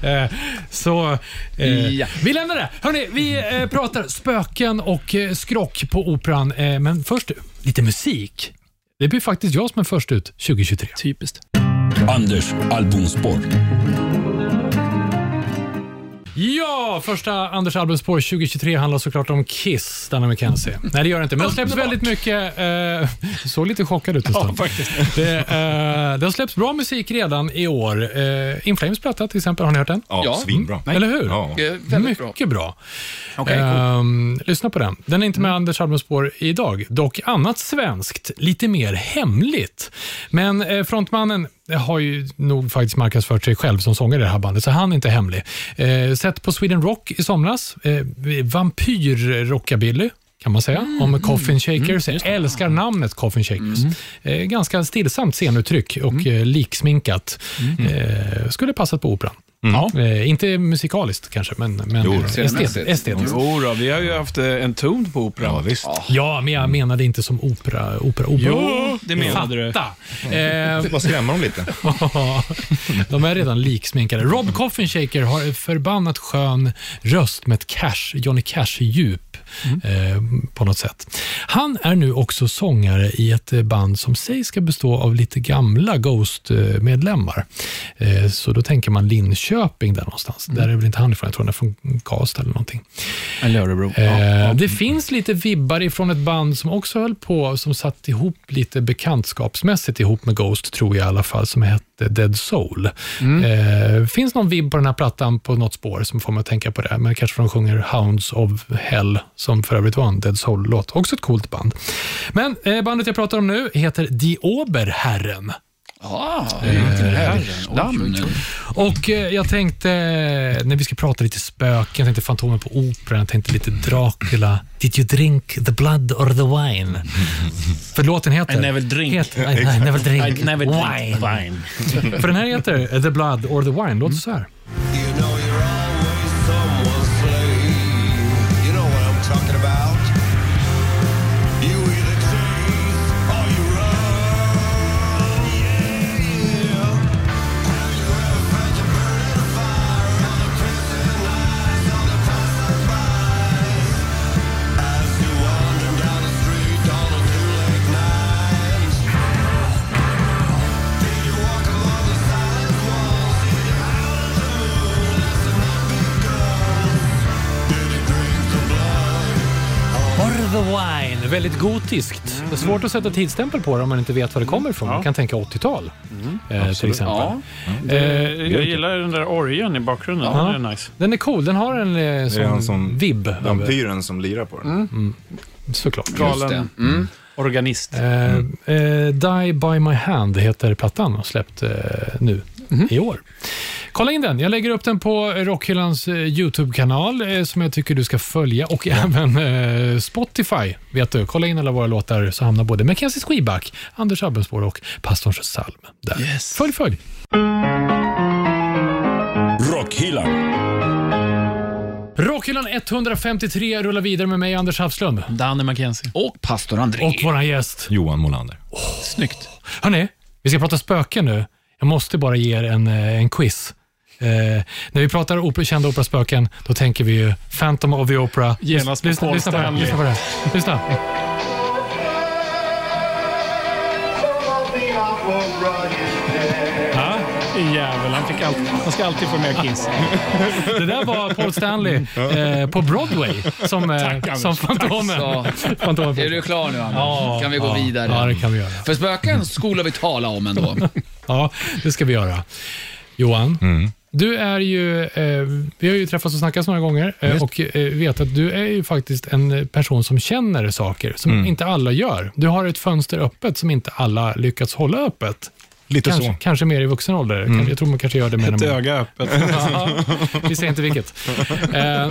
Speaker 2: [LAUGHS]
Speaker 5: går.
Speaker 2: Eh, så, eh,
Speaker 4: Ja.
Speaker 2: vi lämnar det. Hörrni, vi eh, pratar spöken och eh, skrock på Operan, eh, men först lite musik. Det blir faktiskt jag som är först ut 2023.
Speaker 3: Typiskt.
Speaker 1: Anders albumspår.
Speaker 2: Ja, första Anders albumspår 2023 handlar såklart om Kiss, Danny McKenzie. Nej, det gör det inte, men det släpps väldigt mycket. Eh, du såg lite chockad ut en stund. Det, eh, det har släppts bra musik redan i år. Eh, In Flames platta till exempel, har ni hört den?
Speaker 5: Ja,
Speaker 4: Ja.
Speaker 5: svinbra.
Speaker 2: Eller hur?
Speaker 5: Ja.
Speaker 4: Eh, Väldigt bra.
Speaker 2: Mycket bra.
Speaker 4: Okej, cool. Mm.
Speaker 2: Ehm, lyssna på den. Den är inte med Anders albumspår idag, dock annat svenskt, lite mer hemligt. Men eh, frontmannen har ju nog faktiskt marknadsfört sig själv som sångare i det här bandet, så han är inte hemlig. Eh, sett på Sweden Rock i somras, eh, vampyr-rockabilly kan man säga,
Speaker 4: Mm.
Speaker 2: om Coffin Shakers. Jag älskar namnet Coffin Shakers. Eh, ganska stillsamt scenuttryck och
Speaker 4: Mm.
Speaker 2: eh, liksminkat. Eh, skulle passat på operan.
Speaker 4: Mm.
Speaker 2: Eh, inte musikaliskt kanske, men, men
Speaker 5: Jo,
Speaker 2: eh, estet,
Speaker 4: scenmässigt.
Speaker 2: estetiskt.
Speaker 3: Jo då, vi har ju haft eh, en ton på operan.
Speaker 5: Ja, visst.
Speaker 2: Ja, men jag menade inte som opera. opera, opera.
Speaker 3: Jo, det menade du.
Speaker 2: Fatta! Eh, [LAUGHS]
Speaker 5: Bara skrämma dem lite.
Speaker 2: de är redan liksminkade. Rob Coffinshaker har en förbannat skön röst med ett cash, Johnny Cash-djup eh, på något sätt. Han är nu också sångare i ett eh, band som sägs ska bestå av lite gamla Ghost-medlemmar. Eh, så då tänker man Linköping där någonstans. Där är väl inte han ifrån, jag tror han är från Karlstad eller någonting.
Speaker 3: Eller Örebro.
Speaker 2: Eh, Det finns lite vibbar ifrån ett band som också höll på, som satt ihop lite bekantskapsmässigt ihop med Ghost, tror jag i alla fall, som hette Dead Soul. Eh, finns någon vibb på den här plattan på något spår som får mig att tänka på det, men kanske för de sjunger Hounds of Hell, som för övrigt var en Dead Soul-låt. Också ett coolt band. Men eh, bandet jag pratar om nu heter Die Oberherren.
Speaker 4: Ah, herrens namn.
Speaker 2: Och eh, jag tänkte, eh, när vi ska prata lite spöken, jag tänkte Fantomen på Operan, jag tänkte lite Dracula. Did you drink the blood or the
Speaker 6: [LAUGHS]
Speaker 2: wine? För låten heter...
Speaker 6: I never drink.
Speaker 2: Heter, I, I never drink
Speaker 6: I never drink
Speaker 2: wine.
Speaker 6: wine. Mm.
Speaker 2: För den här heter eh, The blood or the wine. Låter så här.
Speaker 7: You know you're always someone's slave. You know what I'm talking about. You either chase or you run. Yeah, yeah. Have you ever felt the burn of the fire and the crimson lights on the passersby? As you wander down the street on a too late night. Do you walk along the silent walls? Did you howl at the moon as the night becomes? Did you drink the blood?
Speaker 2: Or the wine. Väldigt gotiskt.
Speaker 6: Mm.
Speaker 2: Det är svårt att sätta tidsstämpel på det om man inte vet var det kommer ifrån. Man kan tänka 80-tal eh, till exempel.
Speaker 4: Ja.
Speaker 2: Eh,
Speaker 3: Jag gillar den där orgeln i bakgrunden. Den är nice.
Speaker 2: den är cool. Den har en eh,
Speaker 5: Det är
Speaker 2: sån
Speaker 5: han som
Speaker 2: vibb. över-
Speaker 5: vampyren som lirar på
Speaker 2: Mm.
Speaker 5: den.
Speaker 2: Såklart.
Speaker 4: Just det.
Speaker 3: Galen
Speaker 4: Mm.
Speaker 3: organist.
Speaker 2: Eh, eh, Die by my hand heter plattan och släppt eh, nu i år. Kolla in den. Jag lägger upp den på Rockhyllans eh, YouTube-kanal eh, som jag tycker du ska följa och även eh, Spotify. Vet du, kolla in alla våra låtar så hamnar både Mackenzie Skiback, Anders Abbenspår och Pastorns psalm där. Följ, följ.
Speaker 1: Rockhyllan.
Speaker 2: Rockhyllan 153 rullar vidare med mig, Anders Hafslund,
Speaker 3: Danny McKenzie.
Speaker 4: Och pastor André.
Speaker 2: och vår gäst.
Speaker 5: Johan Molander.
Speaker 3: Snyggt.
Speaker 2: Hörni, vi ska prata spöken nu. Jag måste bara ge er en, eh, en quiz. Eh, när vi pratar oper, kända operaspöken, då tänker vi ju Phantom of the Opera.
Speaker 3: Genast på
Speaker 2: lyssna,
Speaker 3: Paul
Speaker 2: lyssna på det här.
Speaker 3: Stanley.
Speaker 2: Lyssna på det här. Lyssna.
Speaker 3: Ja, jävel. Han, fick allt. han ska alltid få med Kiss.
Speaker 2: Det där var Paul Stanley eh, på Broadway som, eh,
Speaker 3: Mm. Anders.
Speaker 2: som Fantomen.
Speaker 4: Så,
Speaker 2: Fantomen.
Speaker 4: är du klar nu Anders? kan vi gå
Speaker 2: ja,
Speaker 4: vidare?
Speaker 2: Ja, det kan vi göra.
Speaker 4: För spöken skola vi tala om ändå. Mm.
Speaker 2: [LAUGHS] Ja, det ska vi göra. Johan, du är ju, eh, vi har ju träffats och snackats några gånger eh, och eh, vet att du är ju faktiskt en person som känner saker som inte alla gör. Du har ett fönster öppet som inte alla lyckats hålla öppet.
Speaker 5: Lite
Speaker 2: Kanske,
Speaker 5: så.
Speaker 2: kanske mer i vuxen ålder. Kanske- Jag tror man kanske gör det mer
Speaker 3: Ett
Speaker 2: när man...
Speaker 3: öga öppet.
Speaker 2: Ja, vi säger inte vilket. Eh,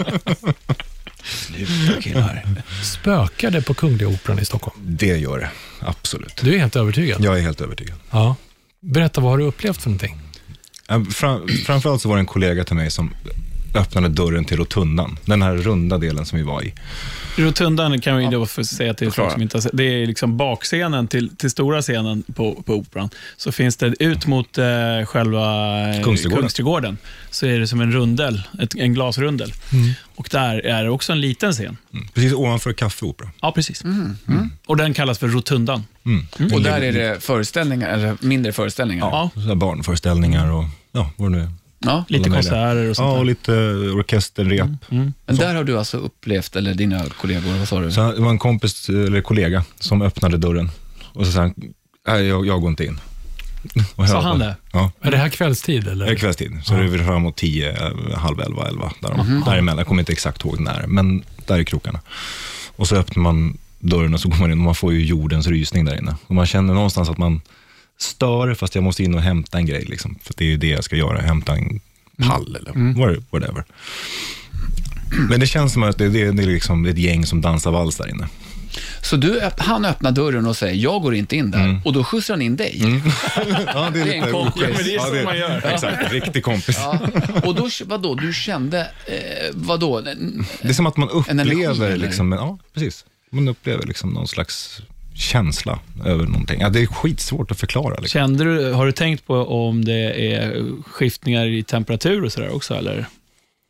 Speaker 4: Sluta killar.
Speaker 2: spökar det på Kungliga Operan i Stockholm?
Speaker 5: Det gör det. Absolut.
Speaker 2: Du är helt övertygad?
Speaker 5: Jag är helt övertygad.
Speaker 2: Ja. Berätta, vad har du upplevt för någonting?
Speaker 5: Eh, Fram, framförallt så var det en kollega till mig som öppnade dörren till rotundan. Den här runda delen som vi var i.
Speaker 3: Rotundan kan vi då få säga till folk
Speaker 4: förklara.
Speaker 3: som inte har sett. Det är liksom bakscenen till, till stora scenen på, på Operan. Så finns det ut mot eh, själva eh,
Speaker 5: Kungsträdgården.
Speaker 3: Kungsträdgården. Så är det som en rundel, ett, en glasrundel.
Speaker 5: Mm.
Speaker 3: Och där är det också en liten scen.
Speaker 5: Precis ovanför Café Opera.
Speaker 3: Ja, precis.
Speaker 5: Mm.
Speaker 3: Och den kallas för Rotundan.
Speaker 4: Mm.
Speaker 3: Mm.
Speaker 4: Och där är det föreställningar, eller mindre föreställningar.
Speaker 3: Ja,
Speaker 5: Så här barnföreställningar och ja, vad det nu är.
Speaker 4: Ja.
Speaker 3: lite
Speaker 5: Alla möjliga.
Speaker 3: konserter och sånt
Speaker 5: Ja,
Speaker 3: där. Mm.
Speaker 5: och lite orkesterrep.
Speaker 4: Men där har du alltså upplevt, eller dina kollegor, vad sa du?
Speaker 5: Så han- det var en kompis, eller kollega, som öppnade dörren. Och så sa han, nej, jag, jag går inte in. Och jag
Speaker 3: Sa
Speaker 5: bara,
Speaker 3: han det?
Speaker 5: Ja.
Speaker 2: Är det här kvällstid eller?
Speaker 5: Det är Eh, kvällstid, så det är väl framåt tio, eh, halv elva, elva. Där
Speaker 4: Mhm.
Speaker 5: mm. Däremellan, jag kommer inte exakt ihåg när, men där är krokarna. Och så öppnar man dörren och så går man in och man får ju jordens rysning där inne. Och man känner någonstans att man stör, fast jag måste in och hämta en grej. Liksom. För det är ju det jag ska göra, hämta en
Speaker 4: Mm.
Speaker 5: pall eller what- whatever. Men det känns som att det, det, det är liksom ett gäng som dansar vals där inne.
Speaker 4: Så du, öpp- han öppnar dörren och säger, jag går inte in där. Och då skjutsar han in dig.
Speaker 5: [LAUGHS] Ja, det är,
Speaker 4: Det är en kompis.
Speaker 5: oschysst.
Speaker 4: Ja, men det
Speaker 3: är så man gör.
Speaker 5: Exakt, riktig kompis.
Speaker 4: Ja. Och då, vadå, du kände, eh, vadå?
Speaker 5: Det är som att man
Speaker 4: En energi,
Speaker 5: upplever,
Speaker 4: eller?
Speaker 5: liksom, ja, precis. Man upplever liksom någon slags känsla över någonting. Ja, det är skitsvårt att förklara. Liksom.
Speaker 3: Kände du, har du tänkt på om det är skiftningar i temperatur och sådär också? Eller?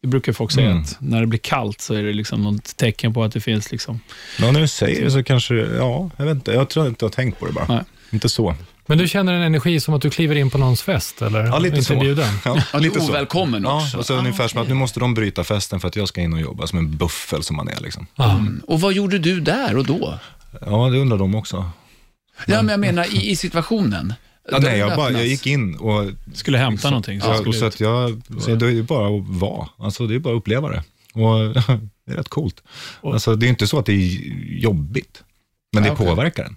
Speaker 3: Det brukar folk säga
Speaker 5: Mm.
Speaker 3: att när det blir kallt så är det liksom något tecken på att det finns liksom...
Speaker 5: Men när du säger det så kanske, ja, jag vet inte. Jag tror inte jag har tänkt på det bara.
Speaker 3: Nej.
Speaker 5: Inte så.
Speaker 2: Men du känner en energi som att du kliver in på någons fest eller?
Speaker 5: Ja, lite
Speaker 2: Inte
Speaker 5: så.
Speaker 2: bjuden.
Speaker 5: Ja,
Speaker 4: Ja, du är ovälkommen
Speaker 5: ja,
Speaker 4: också.
Speaker 5: Och så ungefär som att nu måste de bryta festen för att jag ska in och jobba som en buffel som man är. Liksom.
Speaker 2: Ja.
Speaker 4: Och vad gjorde du där och då?
Speaker 5: Ja, det undrar de också.
Speaker 4: Ja, men jag menar i, i situationen.
Speaker 5: Ja, nej,
Speaker 4: Dörren
Speaker 5: jag, bara,
Speaker 4: öppnas.
Speaker 5: jag gick in och
Speaker 3: Skulle hämta någonting.
Speaker 5: Ja,
Speaker 3: skulle
Speaker 5: och så
Speaker 3: ut.
Speaker 5: att jag, så det är ju bara att vara, alltså, det är bara att uppleva det. Och [LAUGHS] det är rätt coolt. Alltså, det är inte så att det är jobbigt, men det
Speaker 4: Ja, okej.
Speaker 5: påverkar en.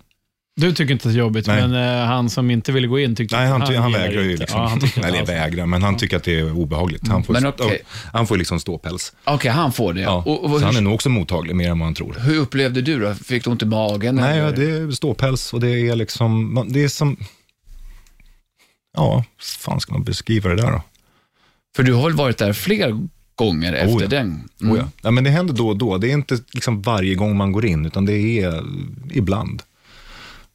Speaker 3: Du tycker inte att det är jobbigt,
Speaker 5: Nej.
Speaker 3: men eh, han som inte ville gå in tyckte
Speaker 5: Nej, han, ty- han
Speaker 3: gillar
Speaker 5: vägrar
Speaker 3: det
Speaker 5: ju.
Speaker 3: inte.
Speaker 5: Liksom.
Speaker 3: Ja, han tycker
Speaker 5: [LAUGHS]
Speaker 3: inte
Speaker 5: Eller
Speaker 3: alls.
Speaker 5: vägrar, men han tycker att det är obehagligt. Han får,
Speaker 4: Men
Speaker 5: ju-
Speaker 4: okej.
Speaker 5: han får ju liksom ståpäls.
Speaker 4: Okej, han får det.
Speaker 5: Ja.
Speaker 4: Och, och
Speaker 5: så han är
Speaker 4: hur,
Speaker 5: nog också mottaglig, mer än vad han tror.
Speaker 4: hur upplevde du då? Fick du ont i magen?
Speaker 5: Nej,
Speaker 4: eller?
Speaker 5: ja, det är ståpäls och det är liksom, man- det är som, ja, fan ska man beskriva det där då?
Speaker 4: För du har väl varit där fler gånger efter
Speaker 5: ja.
Speaker 4: den? Mm.
Speaker 5: Oh ja. ja, men det händer då och då. Det är inte liksom varje gång man går in, utan det är eh, ibland.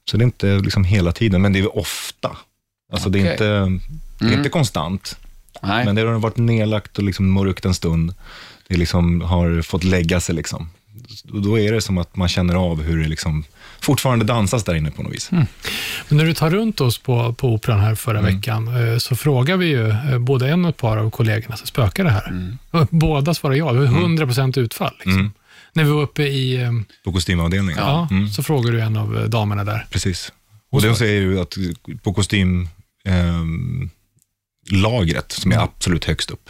Speaker 5: Så det är inte liksom hela tiden, men det är ofta. Alltså det,
Speaker 4: Okej. Mm.
Speaker 5: är inte, det är inte konstant,
Speaker 4: Nej.
Speaker 5: men det har varit nedlagt och liksom mörkt en stund. Det liksom har fått lägga sig. Liksom. Och då är det som att man känner av hur det liksom fortfarande dansas där inne på något
Speaker 4: Mm.
Speaker 5: vis.
Speaker 2: Men när du tar runt oss på, på Operan här förra
Speaker 5: Mm.
Speaker 2: veckan eh, så frågar vi ju eh, både en och ett par av kollegorna som spökar det här.
Speaker 5: Mm.
Speaker 2: Och Båda svarar ja, det var 100% utfall. Liksom. När vi var uppe i, eh,
Speaker 5: På kostymavdelningen. Mm.
Speaker 2: ja, så frågar du en av eh, damerna där.
Speaker 5: Precis. Och de säger ju att på kostym, ehm, lagret som är absolut högst upp,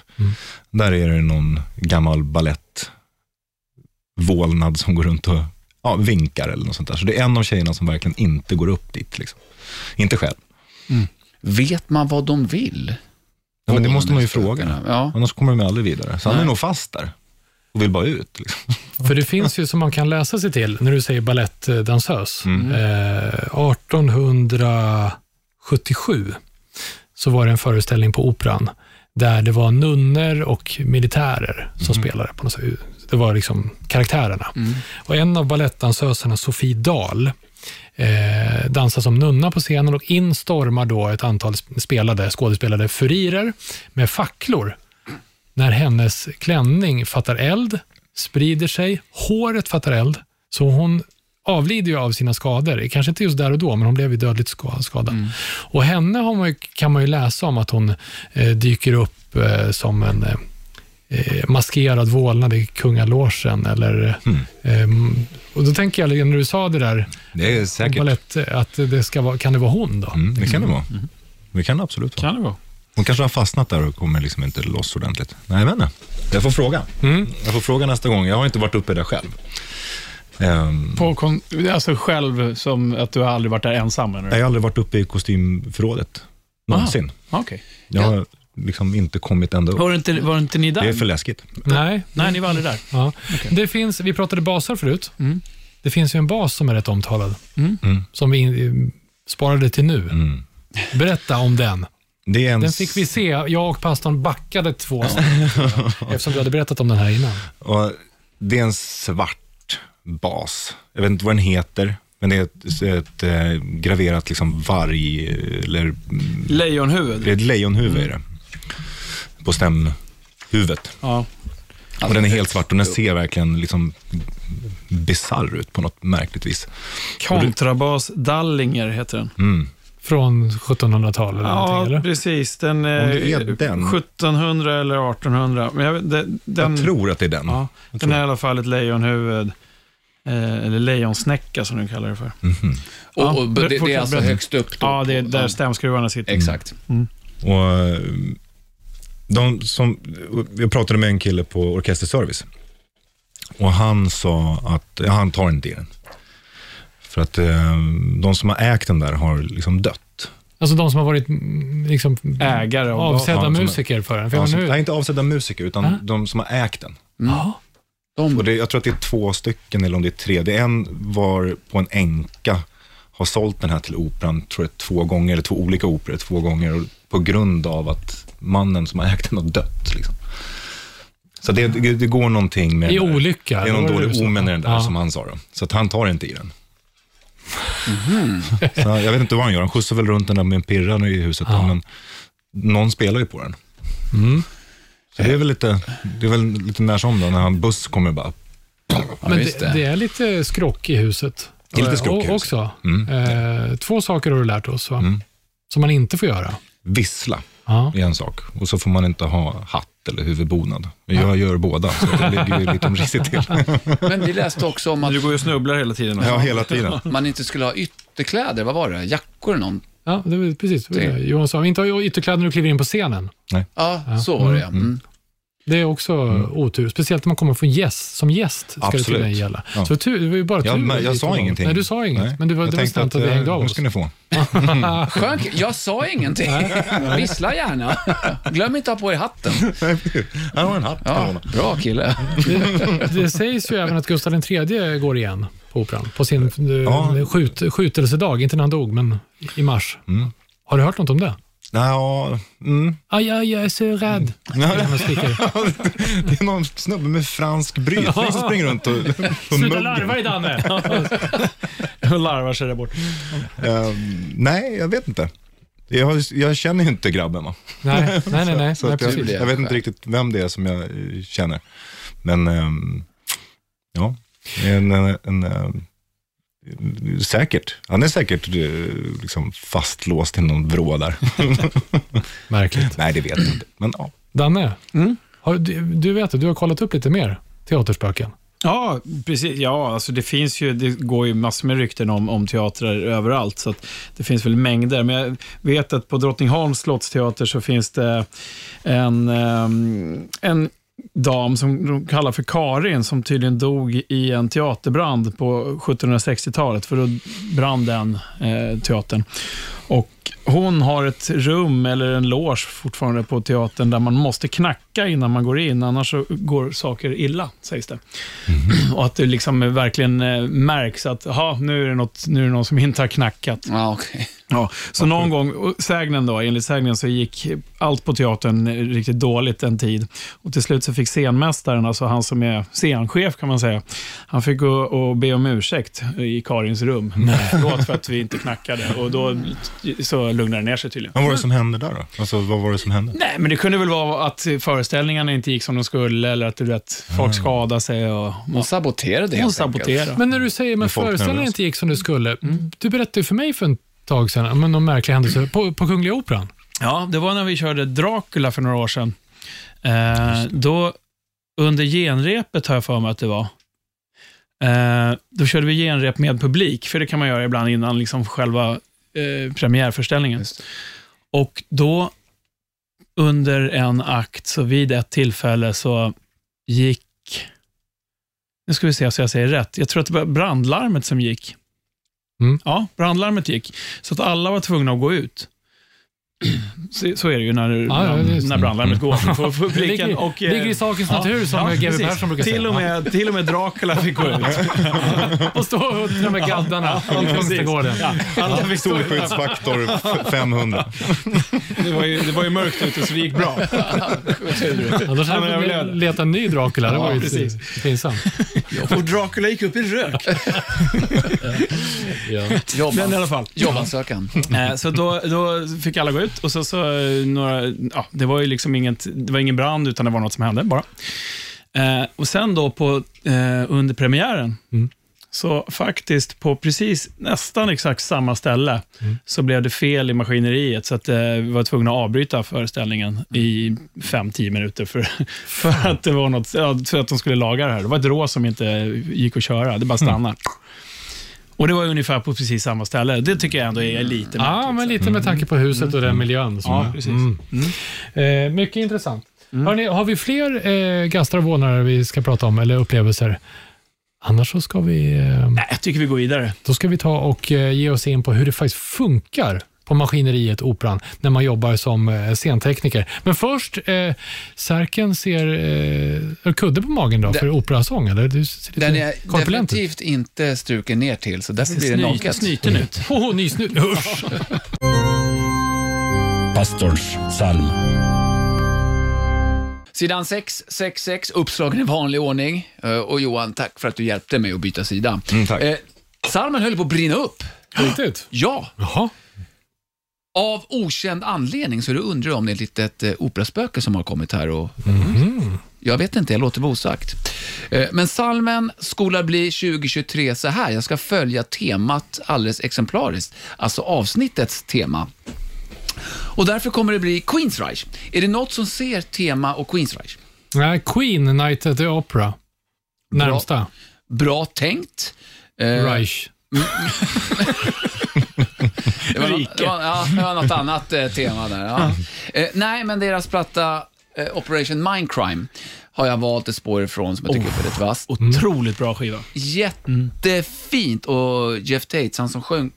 Speaker 5: där är det någon gammal ballett vålnad som går runt och ja, vinkar eller något sånt där. Så det är en av tjejerna som verkligen inte går upp dit. Liksom. Inte själv.
Speaker 4: Vet man vad de vill?
Speaker 5: Ja, men det måste man ju
Speaker 4: Spökena.
Speaker 5: fråga.
Speaker 4: Ja.
Speaker 5: Annars kommer de ju aldrig vidare. Så han är nog fast där och vill bara ut. Liksom.
Speaker 2: För det finns ju som man kan läsa sig till när du säger balettdansös. Eh, 1877 så var det en föreställning på Operan där det var nunnor och militärer som spelade. på något sätt. Det var liksom karaktärerna. Och en av balettdansöserna, Sofie Dahl, eh, dansar som nunna på scenen och in stormar då ett antal sp- spelade, skådespelade furirer med facklor när hennes klänning fattar eld, sprider sig, håret fattar eld, så hon avlider ju av sina skador. Kanske inte just där och då, men hon blev ju dödligt ska- skadad.
Speaker 5: Mm.
Speaker 2: Och henne har man ju, kan man ju läsa om att hon eh, dyker upp eh, som en eh, eh, maskerad vålnad i kungalogen. Eller,
Speaker 5: Mm.
Speaker 2: ehm, och då tänker jag, när du sa det där,
Speaker 5: Det är säkert.
Speaker 2: balett, att det ska vara, kan det vara hon då?
Speaker 5: Mm, det kan det vara. Det kan det absolut vara.
Speaker 3: Kan det vara.
Speaker 5: Hon kanske har fastnat där och kommer liksom inte loss ordentligt. Nej, men nej. Jag får fråga.
Speaker 2: Mm.
Speaker 5: Jag får fråga nästa gång. Jag har inte varit uppe där själv. Ehm,
Speaker 3: På kon- alltså själv, som att du har aldrig varit där ensam? Eller?
Speaker 5: jag har aldrig varit uppe i kostymförrådet. Någonsin.
Speaker 3: Ah, okej.
Speaker 5: Jag har liksom inte kommit ända upp.
Speaker 3: Var, inte, var inte ni där?
Speaker 5: Det är för läskigt.
Speaker 2: Nej,
Speaker 3: Nej, ni var aldrig där.
Speaker 2: Ja. Det finns, vi pratade basar förut.
Speaker 3: Mm.
Speaker 2: Det finns ju en bas som är rätt
Speaker 5: Mm.
Speaker 2: omtalad, som vi in, sparade till nu. Berätta om den.
Speaker 5: Det är en
Speaker 2: Den fick vi se. Jag och pastorn backade två avsnitt, eftersom du hade berättat om den här innan.
Speaker 5: Och det är en svart bas. Jag vet inte vad den heter, men det är ett, ett eh, graverat liksom varg, eller mm, det
Speaker 3: Lejonhuvud.
Speaker 5: är ett lejonhuvud i det. På stämhuvudet.
Speaker 3: Ja.
Speaker 4: Alltså,
Speaker 5: och den är helt svart och den ser verkligen liksom bisarr ut på något märkligt vis.
Speaker 3: Kontrabas Dallinger heter den.
Speaker 5: Mm.
Speaker 2: Från 1700-talet eller
Speaker 3: Ja,
Speaker 2: någonting, eller?
Speaker 3: precis. Den är,
Speaker 5: det är den.
Speaker 3: 1700 eller 1800. Men jag, vet- de- den,
Speaker 5: Jag tror att det är den.
Speaker 3: ja, den är i alla fall ett lejonhuvud. Eh, eller lejonsnäcka som de kallar det för.
Speaker 5: Mhm.
Speaker 3: Ja,
Speaker 4: Och, och, det, det är
Speaker 3: fortsätt
Speaker 4: alltså
Speaker 3: berätta.
Speaker 4: högst upp då?
Speaker 3: Ja, det är
Speaker 4: på-
Speaker 3: där stämskruvarna sitter.
Speaker 4: Exakt.
Speaker 5: Och eh, de som, jag pratade med en kille på orkesterservice och han sa att ja, han tar inte i den. För att eh, de som har ägt den där har liksom dött.
Speaker 2: Alltså de som har varit mm, liksom,
Speaker 3: Ägare av
Speaker 2: avsedda
Speaker 5: Ja, som är-
Speaker 2: musiker för den. För
Speaker 5: Ja,
Speaker 2: jag
Speaker 5: som,
Speaker 2: menar, nu,
Speaker 5: nej, inte avsedda musiker, utan
Speaker 2: Ah.
Speaker 5: de som har ägt den.
Speaker 4: Mm.
Speaker 2: ja,
Speaker 5: Och det, jag tror att det är två stycken, eller om det är tre. Det är en var på en änka har sålt den här till operan, tror jag, två gånger, eller två olika operor, två gånger, och på grund av att mannen som har ägt den har dött. Liksom. Så det, det, det går någonting med...
Speaker 2: I
Speaker 5: den där.
Speaker 2: olycka.
Speaker 5: Det är någon
Speaker 2: Vad var du
Speaker 5: dålig
Speaker 2: sa?
Speaker 5: omen i den där,
Speaker 2: Ja.
Speaker 5: som han sa då. Så att han tar inte i den. [LAUGHS] Så jag vet inte vad han gör, han skjutsar väl runt den där med en pirra nu i huset, då, men någon spelar ju på den. Mm. Så det är väl lite, det är väl lite när som då, när han buss kommer bara
Speaker 4: Ja,
Speaker 2: Men
Speaker 4: visst
Speaker 2: det, det är lite skrock i huset.
Speaker 5: Det är lite skrock i
Speaker 2: Och-
Speaker 5: huset. Mm.
Speaker 2: Också. Eh, två saker har du lärt oss, va? Som man inte får göra.
Speaker 5: vissla
Speaker 2: Ja.
Speaker 5: är en sak och så får man inte ha hatt eller huvudbonad. Men Jag gör båda, så det ligger ju lite
Speaker 2: [LAUGHS]
Speaker 5: risigt till.
Speaker 4: Men vi läste också om att
Speaker 3: [LAUGHS] Du går ju och snubblar hela tiden.
Speaker 5: Ja, hela tiden.
Speaker 4: man inte skulle ha ytterkläder, vad var det? Jackor eller någon?
Speaker 2: Ja, det var precis. Det var det.
Speaker 4: Det-
Speaker 2: Johan sa, inte ha ytterkläder när du kliver in på scenen.
Speaker 4: Ja, så var det ja. mm.
Speaker 2: Det är också otur, speciellt när man kommer från gäst. Som gäst ska det
Speaker 5: Mm. Absolut.
Speaker 2: tydligen gälla.
Speaker 5: Ja.
Speaker 2: Så tur, det var ju bara tur.
Speaker 5: Jag,
Speaker 2: att
Speaker 5: men
Speaker 2: vi
Speaker 5: jag
Speaker 2: tog
Speaker 5: sa
Speaker 2: dem.
Speaker 5: ingenting.
Speaker 2: Nej, du sa inget.
Speaker 5: Nej,
Speaker 2: Men det var,
Speaker 5: jag
Speaker 2: det var
Speaker 5: tänkte
Speaker 2: snällt att, vi
Speaker 5: eh,
Speaker 2: hängde av
Speaker 5: Nu
Speaker 2: oss.
Speaker 5: ska ni få.
Speaker 4: Skön, jag sa ingenting. Vissla gärna. Glöm inte att ha på er hatten.
Speaker 5: Han har en hatt.
Speaker 4: Ja, bra kille.
Speaker 2: Det, det sägs ju även att Gustav III går igen på operan. På sin eh,
Speaker 5: Ja.
Speaker 2: skjut, skjutelsedag, inte när han dog, men i mars.
Speaker 5: Mm.
Speaker 2: Har du hört något om det?
Speaker 5: Ja, mm. [LAUGHS]
Speaker 2: Aj, aj, jag är så rädd. Det är när man skriker.
Speaker 5: Det är någon snubbe med fransk brytning som springer runt och... och
Speaker 2: [LAUGHS] Sluta
Speaker 5: muggen.
Speaker 2: larva dig,
Speaker 5: [LAUGHS]
Speaker 2: Danne!
Speaker 3: [LAUGHS] Och larvar sig där bort.
Speaker 5: Eh, nej, jag vet inte. Jag, har- jag känner ju inte grabben. Va?
Speaker 2: nej, nej, nej. nej,
Speaker 5: Så
Speaker 2: nej
Speaker 5: att jag,
Speaker 2: precis.
Speaker 4: det.
Speaker 5: jag vet inte riktigt vem det är som jag eh, känner. Men ehm, ja, en, en, en, eh, säkert. Han är säkert eh, liksom fastlåst i någon vrå där. [LAUGHS]
Speaker 2: Märkligt.
Speaker 5: nej, det vet jag inte. Men ja,
Speaker 2: Danne, har, du, du vet det, du har kollat upp lite mer teaterspöken.
Speaker 3: Ja, precis. Ja, alltså det finns ju, det går ju massor med rykten om, om teatrar överallt, så att det finns väl mängder. Men jag vet att på Drottningholms slottsteater så finns det en, ehm, en dam som de kallar för Karin, som tydligen dog i en teaterbrand på 1760-talet, för då brann den eh, teatern. Och hon har ett rum, eller en loge fortfarande på teatern, där man måste knacka innan man går in, annars så går saker illa, sägs det. Och att det liksom verkligen eh, märks att aha, nu, är det något, nu är det någon som inte har knackat.
Speaker 4: Ja, okej.
Speaker 3: Ja, så någon gång, och sägnen då, enligt sägnen så gick allt på teatern eh, riktigt dåligt en tid. Och till slut så fick scenmästaren, alltså han som är scenchef kan man säga, han fick gå och be om ursäkt i Karins rum. [LAUGHS] Förlåt för att vi inte knackade. Och då så lugnade det ner sig tydligen.
Speaker 5: vad var det som hände där då? Alltså, vad var det som hände?
Speaker 3: Nej, men det kunde väl vara att föreställningarna inte gick som de skulle eller att du vet, folk skadade sig och...
Speaker 4: Hon saboterade
Speaker 3: Och
Speaker 4: Mm. helt enkelt.
Speaker 3: sabotera.
Speaker 2: Men när du säger att
Speaker 5: folk
Speaker 2: föreställningen
Speaker 5: nervösa.
Speaker 2: inte gick som det skulle. Du berättade ju för mig för en tag sedan om någon märklig händelse på, på Kungliga Operan.
Speaker 3: Ja, det var när vi körde Dracula för några år sedan. Eh, då, under genrepet har jag för mig att det var, eh, då körde vi genrep med publik, för det kan man göra ibland innan liksom själva eh, premiärföreställningen.
Speaker 4: Just det.
Speaker 3: Och då, under en akt, så vid ett tillfälle så gick, nu ska vi se så jag säger rätt, jag tror att det var brandlarmet som gick.
Speaker 2: Mm.
Speaker 3: Ja, brandlarmet gick, så att alla var tvungna att gå ut. [CLEARS THROAT] Så, så är det ju när,
Speaker 2: Ja, ja, Mm.
Speaker 3: när-
Speaker 2: just det.
Speaker 3: när brandlarmet går för
Speaker 2: Ligger-
Speaker 3: publiken. och, eh,
Speaker 2: ligger i sakens natur, som G.W.
Speaker 3: precis.
Speaker 2: Persson brukar
Speaker 3: Till
Speaker 2: säga.
Speaker 3: och med, till och med Dracula fick gå ut.
Speaker 2: [LAUGHS] Och stå och huttra med gaddarna i Kungsträdgården.
Speaker 3: Ja, alla fick stå
Speaker 5: Solskyddsfaktor [LAUGHS] f- 500.
Speaker 3: det, var ju, det var ju mörkt ute så det gick bra.
Speaker 2: Annars hade
Speaker 3: men jag
Speaker 2: vi
Speaker 3: vill göra det.
Speaker 2: letat en ny Dracula. Det var ju
Speaker 3: precis.
Speaker 2: pinsamt.
Speaker 3: [LAUGHS] Och Dracula gick upp i rök.
Speaker 4: Jobb,
Speaker 3: Men i alla fall.
Speaker 4: jobbansökan.
Speaker 3: Eh, Så då, då fick alla gå ut och så, så eh, några, ja, det var ju liksom inget, det var ingen brand utan det var något som hände bara. Eh, och sen då på, eh, under premiären, så faktiskt på precis nästan exakt samma ställe så blev det fel i maskineriet så att eh, vi var tvungna att avbryta föreställningen i 5-10 minuter för, [LAUGHS] för, att det var något, ja, för att de skulle laga det här. Det var ett rå som inte gick att köra, det bara stannade. Och det var ungefär på precis samma ställe. Det tycker jag ändå är lite
Speaker 2: Ja,
Speaker 3: märkligt.
Speaker 2: men lite med tanke på huset och den miljön. Som
Speaker 3: Ja,
Speaker 2: är.
Speaker 3: precis.
Speaker 2: Mm. Eh, mycket intressant. Hörrni, har vi fler eh, gastar och vånare vi ska prata om, eller upplevelser? Annars så ska vi, eh,
Speaker 3: Nej, jag tycker vi går vidare.
Speaker 2: då ska vi ta och eh, ge oss in på hur det faktiskt funkar på maskineriet Operan när man jobbar som eh, scentekniker. Men först, eh, Särken ser... Eh, har kudde på magen då, för operasång? Eller? Du ser lite
Speaker 4: Den är
Speaker 2: korpulent ut.
Speaker 4: definitivt inte struken ner till, så därför blir det
Speaker 3: Sny,
Speaker 4: naket.
Speaker 3: snyten ut.
Speaker 2: Åh, nysnut. Usch!
Speaker 1: Pastors psalm.
Speaker 4: Sidan 666, uppslagen i vanlig ordning. Eh, Och Johan, tack för att du hjälpte mig att byta sida.
Speaker 5: Mm, tack.
Speaker 4: Eh, Psalmen höll på att brinna upp.
Speaker 2: Riktigt.
Speaker 4: Ja,
Speaker 2: Jaha.
Speaker 4: av okänd anledning, så du undrar om det är ett litet eh, operaspöke som har kommit här och... Jag vet inte, jag låter vara osagt. Eh, Men salmen skola bli 2023 så här. Jag ska följa temat alldeles exemplariskt, alltså avsnittets tema. Och därför kommer det bli Queensreich. Är det något som ser tema och Queensreich?
Speaker 2: Nej, Queen, Night at the Opera. Närmsta.
Speaker 4: Bra tänkt. Eh,
Speaker 2: Reich.
Speaker 4: Det var,
Speaker 3: Rike.
Speaker 4: det var, ja, det var något annat eh, tema där. Ja. Eh, nej, men deras platta eh, Operation Mindcrime har jag valt ett spår ifrån som jag tycker är väldigt
Speaker 3: Oh.
Speaker 4: vasst.
Speaker 3: Otroligt bra skiva.
Speaker 4: Jättefint och Jeff Tate, han som sjöng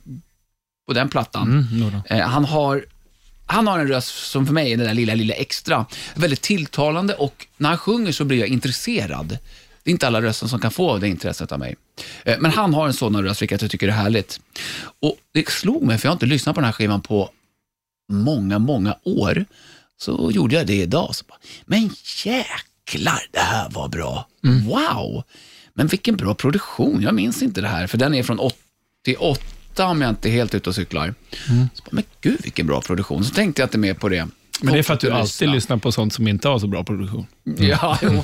Speaker 4: på den plattan, eh, han har han har en röst som för mig är det där lilla, lilla extra. Väldigt tilltalande och när han sjunger så blir jag intresserad. Det är inte alla röster som kan få det intresset av mig. Eh, Men han har en sådan röst, vilket jag tycker är härligt. Och det slog mig, för jag har inte lyssnat på den här skivan på många, många år. Så gjorde jag det idag. Så bara, men jäklar, det här var bra.
Speaker 3: Mm.
Speaker 4: Wow! Men vilken bra produktion. Jag minns inte det här, för den är från 88 om jag inte är helt ute och cyklar.
Speaker 3: Mm.
Speaker 4: Så bara, men gud vilken bra produktion. Så tänkte jag inte mer på det.
Speaker 3: Men det är för att du alltid
Speaker 4: lyssnar.
Speaker 3: lyssnar på sånt som inte har så bra produktion.
Speaker 4: Ja, jo, Mm.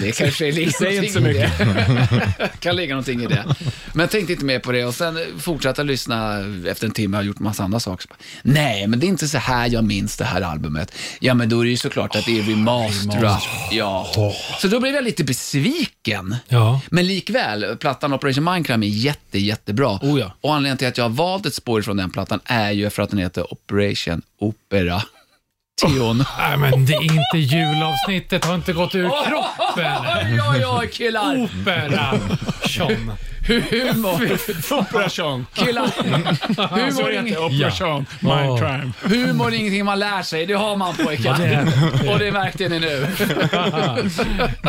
Speaker 4: det kanske är liksom
Speaker 3: Säg inte så
Speaker 4: någonting i det. [LAUGHS] kan ligga någonting i det. Men jag tänkte inte mer på det och sen fortsatte jag lyssna efter en timme och gjort massa andra saker. Så bara, Nej, men det är inte så här jag minns det här albumet. Ja, men då är det ju såklart att det är remasterat. Ja. Så då blev jag lite besviken.
Speaker 2: Ja.
Speaker 4: Men likväl, plattan Operation Mindcrime är jätte, jättebra.
Speaker 3: Oh ja.
Speaker 4: Och anledningen till att jag har valt ett spår från den plattan är ju för att den heter Operation Opera. Tion.
Speaker 2: Nej, men det är inte julavsnittet. Har inte gått ur kroppen.
Speaker 4: Oj, oj, oj, killar!
Speaker 2: Opera. Sean.
Speaker 4: Oh, Humor,
Speaker 3: Operation.
Speaker 4: killar. Humor, är ing-
Speaker 3: Operation.
Speaker 2: Ja.
Speaker 3: Mind crime.
Speaker 4: humor är ingenting man lär sig, det har man pojkar. Och det märkte ni nu.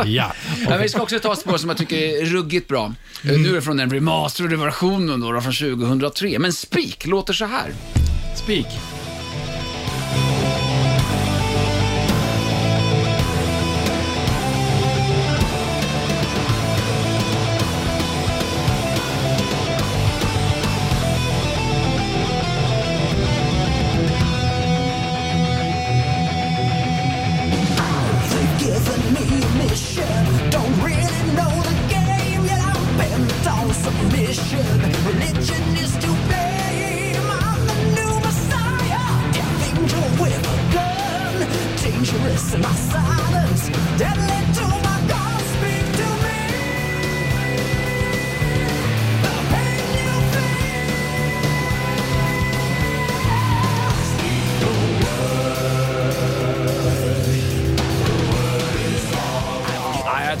Speaker 2: Ja.
Speaker 4: Men vi ska också ta ett spår som jag tycker är ruggigt bra. Nu är det från den remasterade versionen då, då, från 2003. Men Spik låter så här.
Speaker 3: Speak.
Speaker 6: They've given me a mission. Don't really know the game, yet I'm bent on submission. Religion is to blame. I'm the new messiah, death angel with a gun. Dangerous in my silence, deadly to my God. Speak to me. The pain you feel. Speak the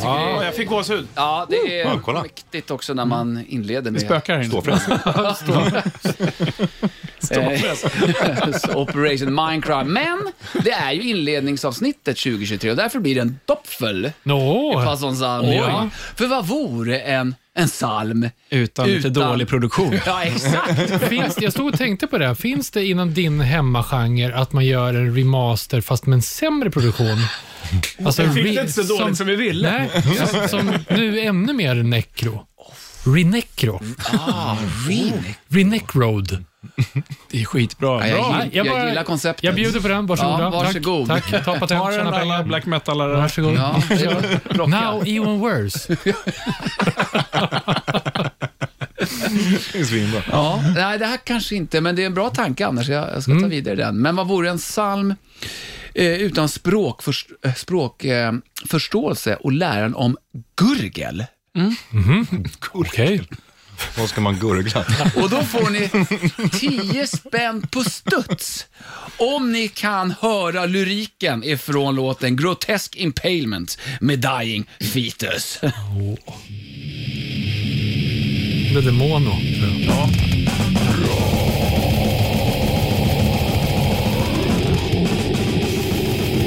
Speaker 4: Ja, jag tycker det Mm. är
Speaker 3: jag fick gåshud.
Speaker 4: Ja, det är
Speaker 5: Ja, kolla.
Speaker 4: mäktigt också när man inleder med...
Speaker 3: Spökar här inne.
Speaker 5: Ståfräs.
Speaker 4: Eh, [LAUGHS] så Operation Minecraft. Men det är ju inledningsavsnittet 2023 och därför blir det en doppfel.
Speaker 2: Nå,
Speaker 4: Fast sån psalm.
Speaker 2: Oj.
Speaker 4: Ja. För vad vore en, en psalm
Speaker 3: Utan lite dålig produktion.
Speaker 4: Ja, exakt.
Speaker 2: finns, det- jag stod och tänkte på det. här. Finns det inom din hemmagenre att man gör en remaster fast med en sämre produktion? Alltså,
Speaker 3: Det fick
Speaker 2: re-
Speaker 3: det inte så dåligt som vi ville.
Speaker 2: Nej, som, som nu ännu mer necro. Renecro.
Speaker 4: Ah, remix.
Speaker 2: Renecroad.
Speaker 3: [LAUGHS] Det är skitbra.
Speaker 4: Ja, jag,
Speaker 3: Bra.
Speaker 4: gill, jag, gillar konceptet.
Speaker 2: Jag bjuder på den. Varsågoda.
Speaker 4: Ja, varsågod.
Speaker 2: Tack. Tack. Ta
Speaker 3: Ta
Speaker 2: patent,
Speaker 3: den
Speaker 2: tjäna
Speaker 3: alla
Speaker 2: pengar.
Speaker 3: black metalare.
Speaker 2: Varsågod. [LAUGHS]
Speaker 4: Ja, det är rockar.
Speaker 2: Now even worse.
Speaker 5: Svinbra.
Speaker 4: Ja, nej, det här kanske inte, men det är en bra tanke annars. Jag, jag ska ta
Speaker 2: Mm.
Speaker 4: vidare den. Men vad vore en psalm eh, utan språkförståelse eh, språk, eh, förståelse och läran om gurgel?
Speaker 2: [LAUGHS] Okej.
Speaker 5: Vad ska man gurgla?
Speaker 4: Och då får ni 10 spänn på studs om ni kan höra lyriken ifrån låten Grotesque Impalement med Dying Fetus.
Speaker 2: Det är mono, tror jag.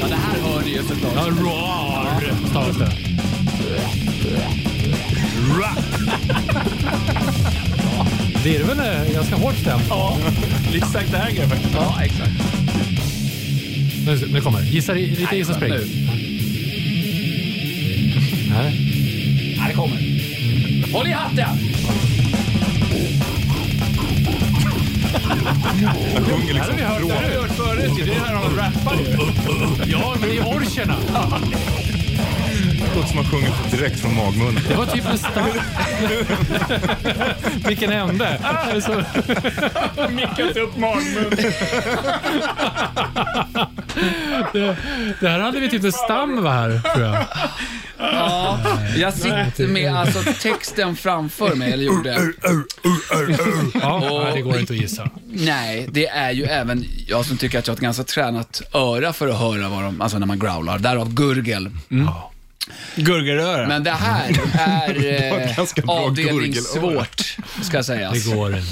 Speaker 4: Ja, det här hör ni ju förstås.
Speaker 2: Ja, roar stavas det. Det är väl eh, ganska hårt tempo.
Speaker 3: Lite Zack Dagger. faktiskt.
Speaker 4: Ja, exakt.
Speaker 2: Nu, nu kommer det. Gissa, lite gissa spring.
Speaker 4: Nu.
Speaker 2: Nej.
Speaker 4: Ja, det kommer. Håll i hatten!
Speaker 5: Jag sjunger liksom
Speaker 3: Det här har vi hört förut. ju. Det här har de rappat ju.
Speaker 2: Ja, men det är orcherna.
Speaker 5: Det låter som man sjunger direkt från magmunnen.
Speaker 2: Det var typ en stark... [LAUGHS] Vilken ände. Det är [LAUGHS] så-
Speaker 3: Mickat upp magmunnen.
Speaker 2: [LAUGHS] Det, det här hade vi typ en stam var här, tror jag.
Speaker 4: Ja, jag sitter med alltså texten framför mig, eller gjorde.
Speaker 2: Ja, nej, det går inte att gissa.
Speaker 4: Nej, det är ju även jag som tycker att jag har ett ganska tränat öra för att höra vad de, alltså när man growlar, därav gurgel.
Speaker 3: Gurgelöra.
Speaker 4: Men det här
Speaker 5: [LAUGHS]
Speaker 4: är eh,
Speaker 5: ganska bra
Speaker 4: avdelning
Speaker 5: gurgel.
Speaker 4: svårt, ska jag säga.
Speaker 2: Det går inte.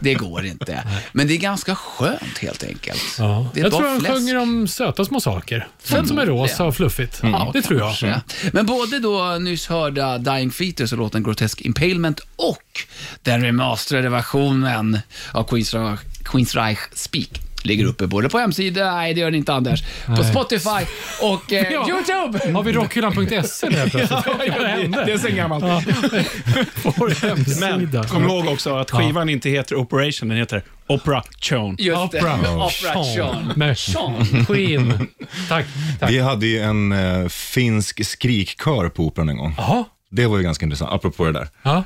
Speaker 4: Det går inte. Men det är ganska skönt helt enkelt.
Speaker 2: Ja.
Speaker 4: Det är
Speaker 2: Jag
Speaker 4: bara
Speaker 2: tror han
Speaker 4: fläsk. Mm.
Speaker 2: sjunger om söta små saker. Sånt som är rosa och fluffigt. det tror jag.
Speaker 4: Ja. Men både då nyss hörda Dying Fetus och låten Grotesque Impalement och den remasterade versionen av Queens Reich, Queens Reich Speak ligger uppe både på hemsidan, nej det gör den inte Anders, på Spotify och
Speaker 2: [LAUGHS]
Speaker 4: eh,
Speaker 2: Ja.
Speaker 4: YouTube.
Speaker 2: Har vi rockhyllan.se nu helt plötsligt? Vad hände?
Speaker 3: Det är så gammalt.
Speaker 2: Vår hemsida.
Speaker 3: Men kom ihåg också att skivan inte heter Operation, den heter Opera Chone.
Speaker 4: Just det.
Speaker 2: Opera.
Speaker 4: Opera Sean.
Speaker 2: Med
Speaker 4: Sean.
Speaker 2: Queen. Tack. Tack.
Speaker 5: Vi hade ju en eh, finsk skrikkör på operan en gång.
Speaker 2: Jaha.
Speaker 5: Det var ju ganska intressant, apropå det där.
Speaker 2: Ja.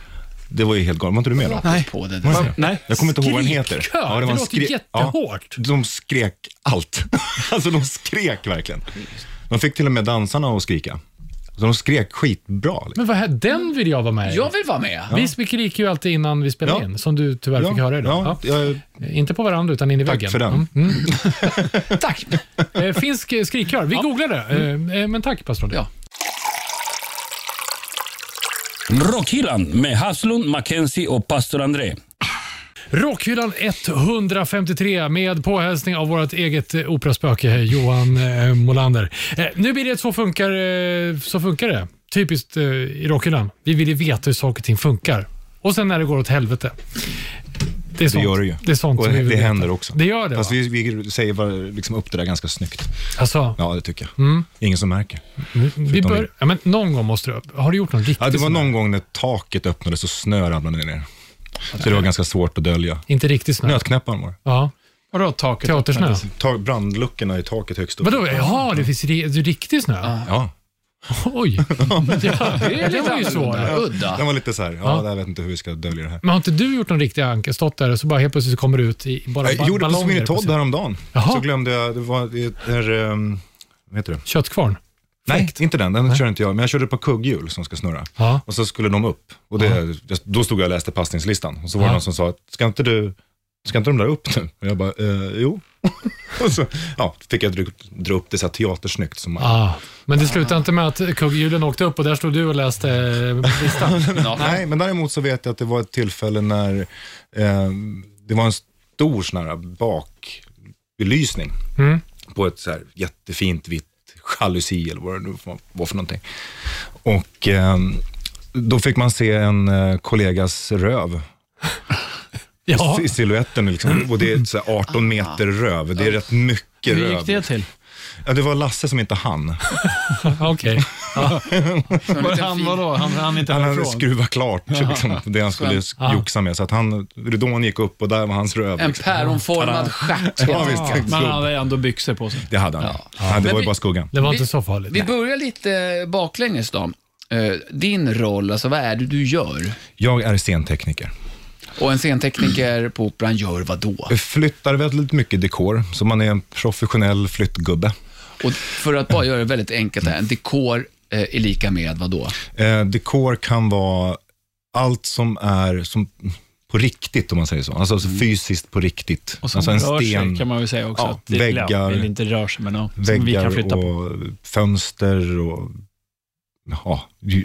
Speaker 5: Det var ju helt galet. Var inte du med då?
Speaker 4: Nej. På det där.
Speaker 3: Nej.
Speaker 5: Jag kommer inte ihåg vad den heter.
Speaker 2: Skrikkör? Det
Speaker 5: en
Speaker 2: låter
Speaker 5: skri-
Speaker 2: jättehårt.
Speaker 5: Ja, de skrek allt. [LAUGHS] alltså de skrek verkligen. De fick till och med dansarna att skrika. Så de skrek skitbra. Liksom.
Speaker 2: Men vad här, den vill jag vara med i.
Speaker 4: Jag vill vara med.
Speaker 2: Vi skriker ju alltid innan vi spelar
Speaker 5: Ja.
Speaker 2: in, som du tyvärr fick höra idag.
Speaker 5: ja,
Speaker 2: Ja.
Speaker 5: jag-
Speaker 2: Inte på varandra, utan in i
Speaker 5: tack
Speaker 2: väggen. Mm.
Speaker 5: för den.
Speaker 3: Mm.
Speaker 4: Tack.
Speaker 2: Eh, finsk eh, skrikkör. Vi googlar det. Eh, eh, men tack, pastor.
Speaker 4: Ja.
Speaker 1: Rockhyllan med Haslund, Mackenzie och pastor André.
Speaker 2: Rockhyllan 153 med påhälsning av vårt eget eh, operaspöke eh, Johan eh, Molander. Eh, nu blir det ett Så funkar, eh, så funkar det. Typiskt eh, i Rockhyllan. Vi vill ju veta hur saker och ting funkar. Och sen när det går åt helvete. Det, är
Speaker 5: Det
Speaker 2: sånt,
Speaker 5: gör det ju.
Speaker 2: Det är sånt
Speaker 5: och
Speaker 2: som vi vill
Speaker 5: det
Speaker 2: veta.
Speaker 5: händer också.
Speaker 2: Det gör det,
Speaker 5: Fast
Speaker 2: va?
Speaker 5: vi, vi säger bara, liksom upp det där ganska snyggt.
Speaker 2: Alltså,
Speaker 5: Ja, det tycker jag. Ingen som märker.
Speaker 2: vi bör, ja, men någon gång måste du... Har du gjort någon riktigt
Speaker 5: Ja, det var
Speaker 2: sån här-
Speaker 5: någon gång när taket öppnades och snö ramlade ner. Så det var ganska svårt att dölja.
Speaker 2: Inte riktigt snö?
Speaker 5: Nötknäpparen var det.
Speaker 2: Ja.
Speaker 3: Vadå taket?
Speaker 2: Teatersnö?
Speaker 5: Ta- Brandluckorna i taket högst upp.
Speaker 2: Vadå? Jaha, det finns ri- riktig snö?
Speaker 5: Ja,
Speaker 2: Oj. Ja,
Speaker 4: Det är
Speaker 2: det
Speaker 4: lite
Speaker 2: var ju svårare.
Speaker 4: annorlunda. Udda.
Speaker 5: den var lite så här, ja, jag vet inte hur vi ska dölja det här.
Speaker 2: Men har inte du gjort någon riktig anka? Stått där och så bara helt plötsligt kommer det ut i bara ba-
Speaker 5: Jag gjorde det på
Speaker 2: ballonger
Speaker 5: Sweeney Todd
Speaker 2: scen-
Speaker 5: häromdagen.
Speaker 2: Jaha.
Speaker 5: Så glömde jag, det var, det är, um, vad heter det?
Speaker 2: Köttkvarn?
Speaker 5: Nej, inte den, den körde inte jag, men jag körde ett par kugghjul som ska snurra.
Speaker 2: Ja.
Speaker 5: Och så skulle de upp, och det, då stod jag och läste passningslistan. Och så var det
Speaker 2: Ja.
Speaker 5: någon som sa, ska inte du, ska inte de där upp nu? Och jag bara, eh, jo. [LAUGHS] Och så ja, fick jag dra, dra upp det så här teatersnyggt. Som man,
Speaker 2: Ah, men det slutade inte med att kugghjulen åkte upp och där stod du och läste eh, listan.
Speaker 5: Nej, men däremot så vet jag att det var ett tillfälle när eh, det var en stor sån här bakbelysning
Speaker 3: Mm.
Speaker 5: på ett så här jättefint vitt jalusi eller vad det nu var för någonting. Och eh, då fick man se en eh,
Speaker 3: [LAUGHS]
Speaker 5: kollegas röv
Speaker 2: Ja.
Speaker 5: i siluetten liksom. och det är så här 18 meter röv. Det är rätt mycket
Speaker 3: Hur gick det
Speaker 5: röv.
Speaker 3: till?
Speaker 5: Ja, det var Lasse som inte hann.
Speaker 2: Okej.
Speaker 4: Så en
Speaker 3: Var
Speaker 4: liten
Speaker 3: han
Speaker 4: fin-
Speaker 3: vadå? Han hann inte
Speaker 5: Han hade
Speaker 3: härifrån?
Speaker 5: skruvat klart liksom, det han skulle
Speaker 2: Ja.
Speaker 5: joxa med. Så att han, ridån gick upp och där var hans röv.
Speaker 4: En
Speaker 3: [LAUGHS]
Speaker 5: liksom.
Speaker 4: päronformad stjärt.
Speaker 5: Ja, visst.
Speaker 3: Men han hade ändå byxor på sig.
Speaker 5: Det hade han. Ja. Ja, det
Speaker 4: Men
Speaker 5: var
Speaker 4: vi-
Speaker 5: ju bara skuggan.
Speaker 2: Det var
Speaker 4: Vi-
Speaker 2: inte så farligt.
Speaker 4: Vi börjar lite baklänges då. Eh, Din roll, alltså vad är det du gör?
Speaker 5: Jag är scentekniker.
Speaker 4: Och en scentekniker på Operan gör vad då?
Speaker 5: Jag flyttar väldigt mycket dekor, så man är en professionell flyttgubbe.
Speaker 4: Och för att bara göra det väldigt enkelt här, en dekor eh, är lika med vad då?
Speaker 5: Eh, dekor kan vara allt som är som på riktigt, om man säger så. Alltså fysiskt på riktigt.
Speaker 3: Mm. Och som
Speaker 5: alltså
Speaker 3: rör sig kan man ju säga också.
Speaker 5: Ja,
Speaker 3: att det,
Speaker 5: väggar.
Speaker 3: Ja, det inte rör sig, men ja, som vi kan flytta
Speaker 5: väggar
Speaker 3: på.
Speaker 5: och fönster och ja, ju-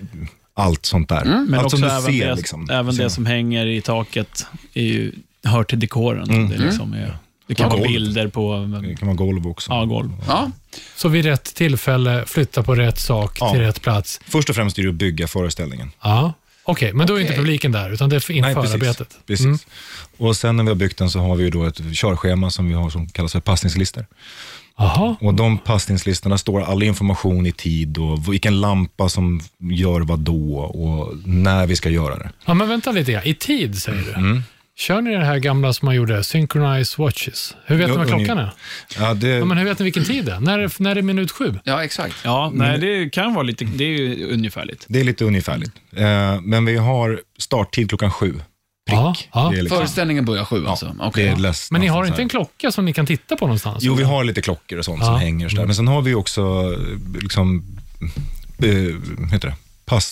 Speaker 5: allt sånt där.
Speaker 3: Men
Speaker 5: allt
Speaker 3: också
Speaker 5: som du
Speaker 3: även,
Speaker 5: ser.
Speaker 3: det,
Speaker 5: liksom.
Speaker 3: även det
Speaker 5: Ser.
Speaker 3: som hänger i taket är ju, hör till dekoren.
Speaker 5: Mm.
Speaker 3: Det, är liksom är, det kan
Speaker 5: Ja,
Speaker 3: vara
Speaker 5: golv.
Speaker 3: bilder på
Speaker 5: Det kan vara golv också.
Speaker 3: ja, golv.
Speaker 4: Ja,
Speaker 2: Så vid rätt tillfälle flytta på rätt sak
Speaker 5: Ja.
Speaker 2: till rätt plats.
Speaker 5: Först och främst är det att bygga föreställningen.
Speaker 2: Ja. Okej, men då är inte
Speaker 4: Okej.
Speaker 2: publiken där, utan det är inför
Speaker 5: precis.
Speaker 2: arbetet. Mm.
Speaker 5: precis. Och sen när vi har byggt den så har vi ju då ett körschema som vi har som kallas för passningslistor.
Speaker 2: Jaha,
Speaker 5: Och de passningslistorna står all information i tid och vilken lampa som gör vad då och när vi ska göra det.
Speaker 2: ja, men vänta lite. ja. I tid säger du. Kör ni det här gamla som man gjorde, Synchronize Watches? Hur vet ni
Speaker 5: Ja,
Speaker 2: vad
Speaker 5: och ni-
Speaker 2: klockan är?
Speaker 5: Ja, det,
Speaker 2: Ja, men hur vet ni vilken tid det är? När, är- när är minut sju?
Speaker 4: ja exakt.
Speaker 3: Ja, nej, det kan vara lite, det är ju ungefärligt.
Speaker 5: det är lite ungefärligt. Eh, men vi har starttid klockan sju.
Speaker 2: Ja, ja.
Speaker 5: Det är liksom,
Speaker 4: Föreställningen börjar sju alltså?
Speaker 5: det
Speaker 4: Okej.
Speaker 5: är läs-
Speaker 2: Men ni har
Speaker 5: nästan så
Speaker 2: inte
Speaker 5: här.
Speaker 2: en klocka som ni kan titta på någonstans?
Speaker 5: Jo, vi har lite klockor och sånt
Speaker 2: Ja. Mm.
Speaker 5: som hänger. Så där. Men sen har vi också eh, liksom, eh, vad heter det?